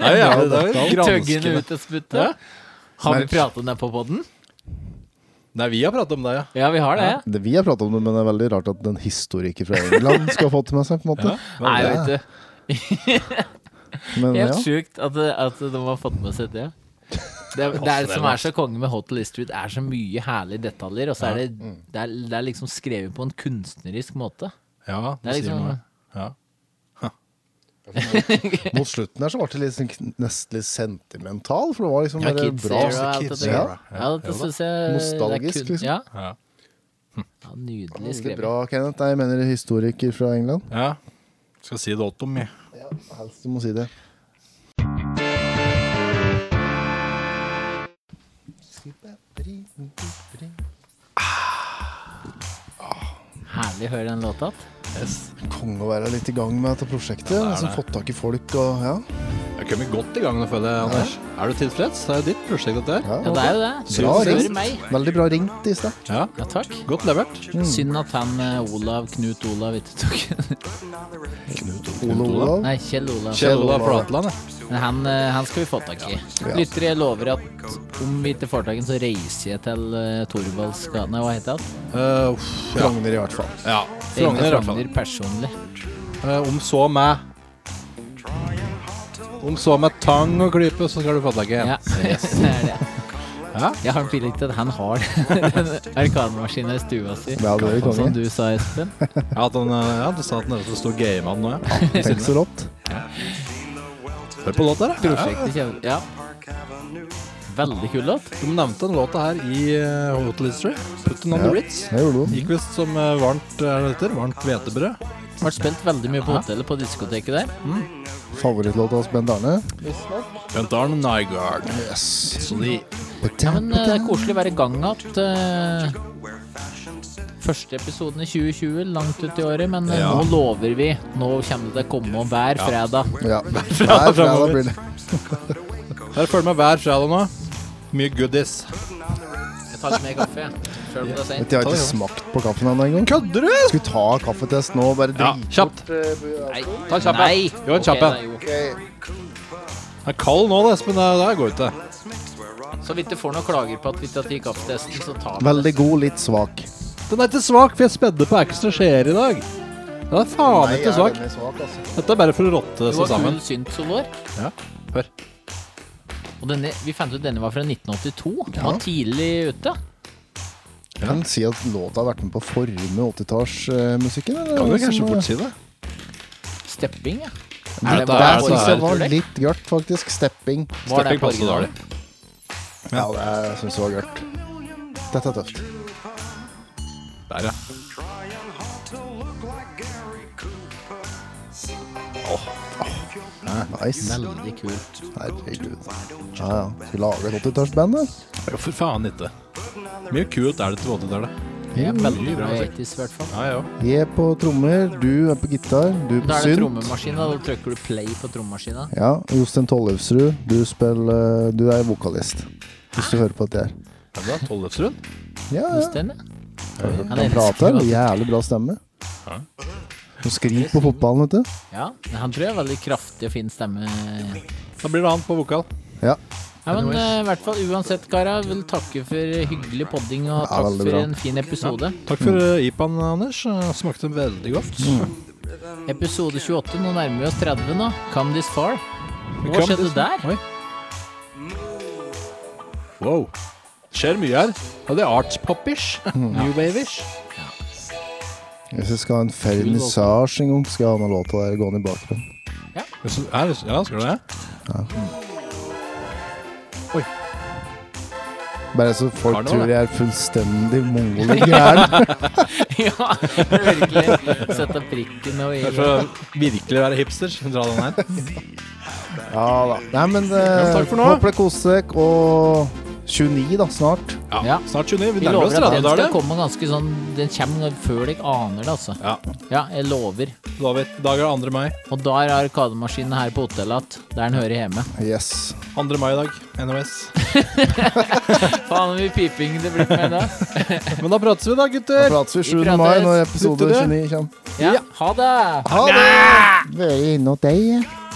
Nei, ja, det er jo Tøggene granskende. ut og spytte? Ja. Har Nei. vi pratet om det på podden? Nei, vi har pratet om det, ja. Ja, vi har det. Ja, det- Vi har pratet om det, men det er veldig rart at en historiker fra England skal ha fått det med seg. på en måte Nei, Ja. vet du. Men Helt ja. sjukt at, at de har fått med seg det. Det, er- det er det som er så konge med Hotel History, det er så mye herlige detaljer. Og så er det, det, er, det er liksom skrevet på en kunstnerisk måte. Ja, det du er sier liksom noe. Ja. Mot slutten her så ble det litt sånn- nesten litt sentimental, for det var liksom Ja, bare Kids bra. Era, alt det der. Ja. Ja, dette synes jeg- det er Nostalgisk, kun- liksom. ja. Ja, nydelig Veldig skrevet. bra, Kenneth. Nei, Jeg mener historiker fra England. ja. Skal si det åt dem, jeg. Helst du må si det. Herlig å høre den låta. Yes. Konge å være litt i gang med dette prosjektet. Ja, det er liksom det. fått tak i folk og ja. Jeg har kommet godt i gang nå, føler jeg, Anders. Er du tilfreds? Det er jo ditt prosjekt, dette her. Ja, det er jo det. Syns Bra du det? ringt. meg. Veldig bra ringt i stad. Ja. takk. Godt levert. Synd at han eh, Olav, Knut Olav, ikke tok [LAUGHS] Ole Olav. Nei, Kjell Olav. Kjell Olav Flatland, Men han, eh, han skal vi få tak i. Ja. Lyttere, jeg lover at om vi ikke får tak i den, så reiser jeg til eh, Thorvalds gate. Nei, hva heter det? Uh, uff, ja. Frogner i hvert fall. Ja. Frogner i hvert fall. Frogner personlig. Eh, om så med Om så med tang og klype, så skal du få deg en. Ja, [LAUGHS] det er det. Jeg har en feeling til at han har [LAUGHS] den arkanmaskinen i stua si. Sånn Ja, det er jo konge. Som du sa, [LAUGHS] Espen. Ja, at den, eh, ja, du sa at den er så stor gamer nå, ja. Tenk så rått. Hør på låta, da. Prosjektet kjenner Ja. Veldig kul låt. De nevnte den låta her i eh, Hotel History. Put it on Ja, the Ritz. det gjorde Gikk visst som eh, varmt er det heter, varmt hvetebrød. Ble spilt veldig mye på hotellet på diskoteket der. Favorittlåta hans, Bent Arne. Bent Arne Nygaard. Yes. Ja, men eh, det er koselig å være i gang igjen. eh. Første episoden i 2020, langt ut i året, men eh, Ja. nå lover vi. Nå kommer det til å komme hver Ja. fredag. [LAUGHS] Ja. fredag Hver fredag blir det. Her følger med hver fredag nå. Mye goodies. Jeg tar litt mer kaffe, jeg. Selv om det er Vet sent. du, jeg har ikke smakt på kaffen ennå engang. Kødder du?! Skulle ta kaffetest nå, bare Ja, drit. kjapt. Nei. Ta en kjapp en. Jo, en kjapp en. Ok, nei, jo. Det er kald nå, da, Espen. Det det her går ikke. Så vidt det får noen klager på at vi ikke har tatt kaffetesten, så tar vi Veldig god, litt svak. Den er ikke svak, for jeg spedde på ekstra skjeer i dag. Den er faen Nei, ikke jeg er svak. veldig svak, altså. Dette er bare for å rotte Det seg var sammen. full syntsol vår. Ja, hør. Og denne, vi fant ut denne var fra 1982. Den var tidlig ute. Jeg Kan si at låta har vært med på å forme 80-tallsmusikken. Kan du eh, kanskje fort si det? Stepping, ja. Nei, Er det det bare der syns jeg orkester, var det? litt gørt, faktisk. Stepping. Var det Stepping på passer originalen? Ja, det syns jeg var gørt. Dette er tøft. Der, ja. Nice. Veldig kult. Herregud. Ja, ja. Skulle lage et 80-tallsband, da. Jo, for faen ikke. Mye kult er det til både der, da. Det er veldig Mye bra musikk. 80s, i hvert fall. Ja, ja. Jeg er på trommer, du er på gitar, du er på Da er det synt. trommemaskina. Da trykker du play på trommemaskina. Ja, Jostein Tollefsrud, du spiller eh, Du er vokalist, hvis du hører på dette her. Ja, det er Tollefsrud. Ja, ja. Stemmer. Jeg har hørt Han Han elsker prater, jo alt. jævlig bra stemme. Hun skriver på fotballen, vet du. Ja, men han tror jeg har veldig kraftig og fin stemme. Da blir det han på vokal. Ja. Ja, men eh, i hvert fall uansett, Kara, vil takke for hyggelig podding og Ja, takk veldig for bra. en fin episode. Takk for eh, IPAN, Anders. Eh, Smakte veldig godt. Episode 28, nå nærmer vi oss 30 nå. Come this far. Hva Come skjedde this- der? Oi. Wow. Skjer mye her. Ja, det er artspop-ish. New wave-ish. Hvis jeg skal ha en fernisasje en gang, skal jeg ha den låta der gående i bakgrunnen. [LAUGHS] Ja, så- er det- ja, skal du det? Bare så folk Karneval, tror da. jeg er fullstendig mongol gæren. [LAUGHS] ja, virkelig. Sette prikken og i Det er for å virkelig være hipster. Dra den her. [LAUGHS] Ja da. Nei, men Ja, eh, takk for nå. håper det koser deg. Og 29, da, snart. Ja. Snart 29. Vi Vi nærmer oss lover at 30 den skal dager. komme ganske sånn Den kommer før dere aner det, altså. Ja. jeg lover. Lover. I dag er det 2. mai. Og da er arkademaskinen her på hotellet igjen, der den hører hjemme. Yes. 2. mai i dag. NOS. Faen, hvor mye piping det blir med da. Men da prates vi, da, gutter. Da prates vi 7. mai når episode 29 kommer. Ja, ha det! Ha det! Vi er inne hos deg.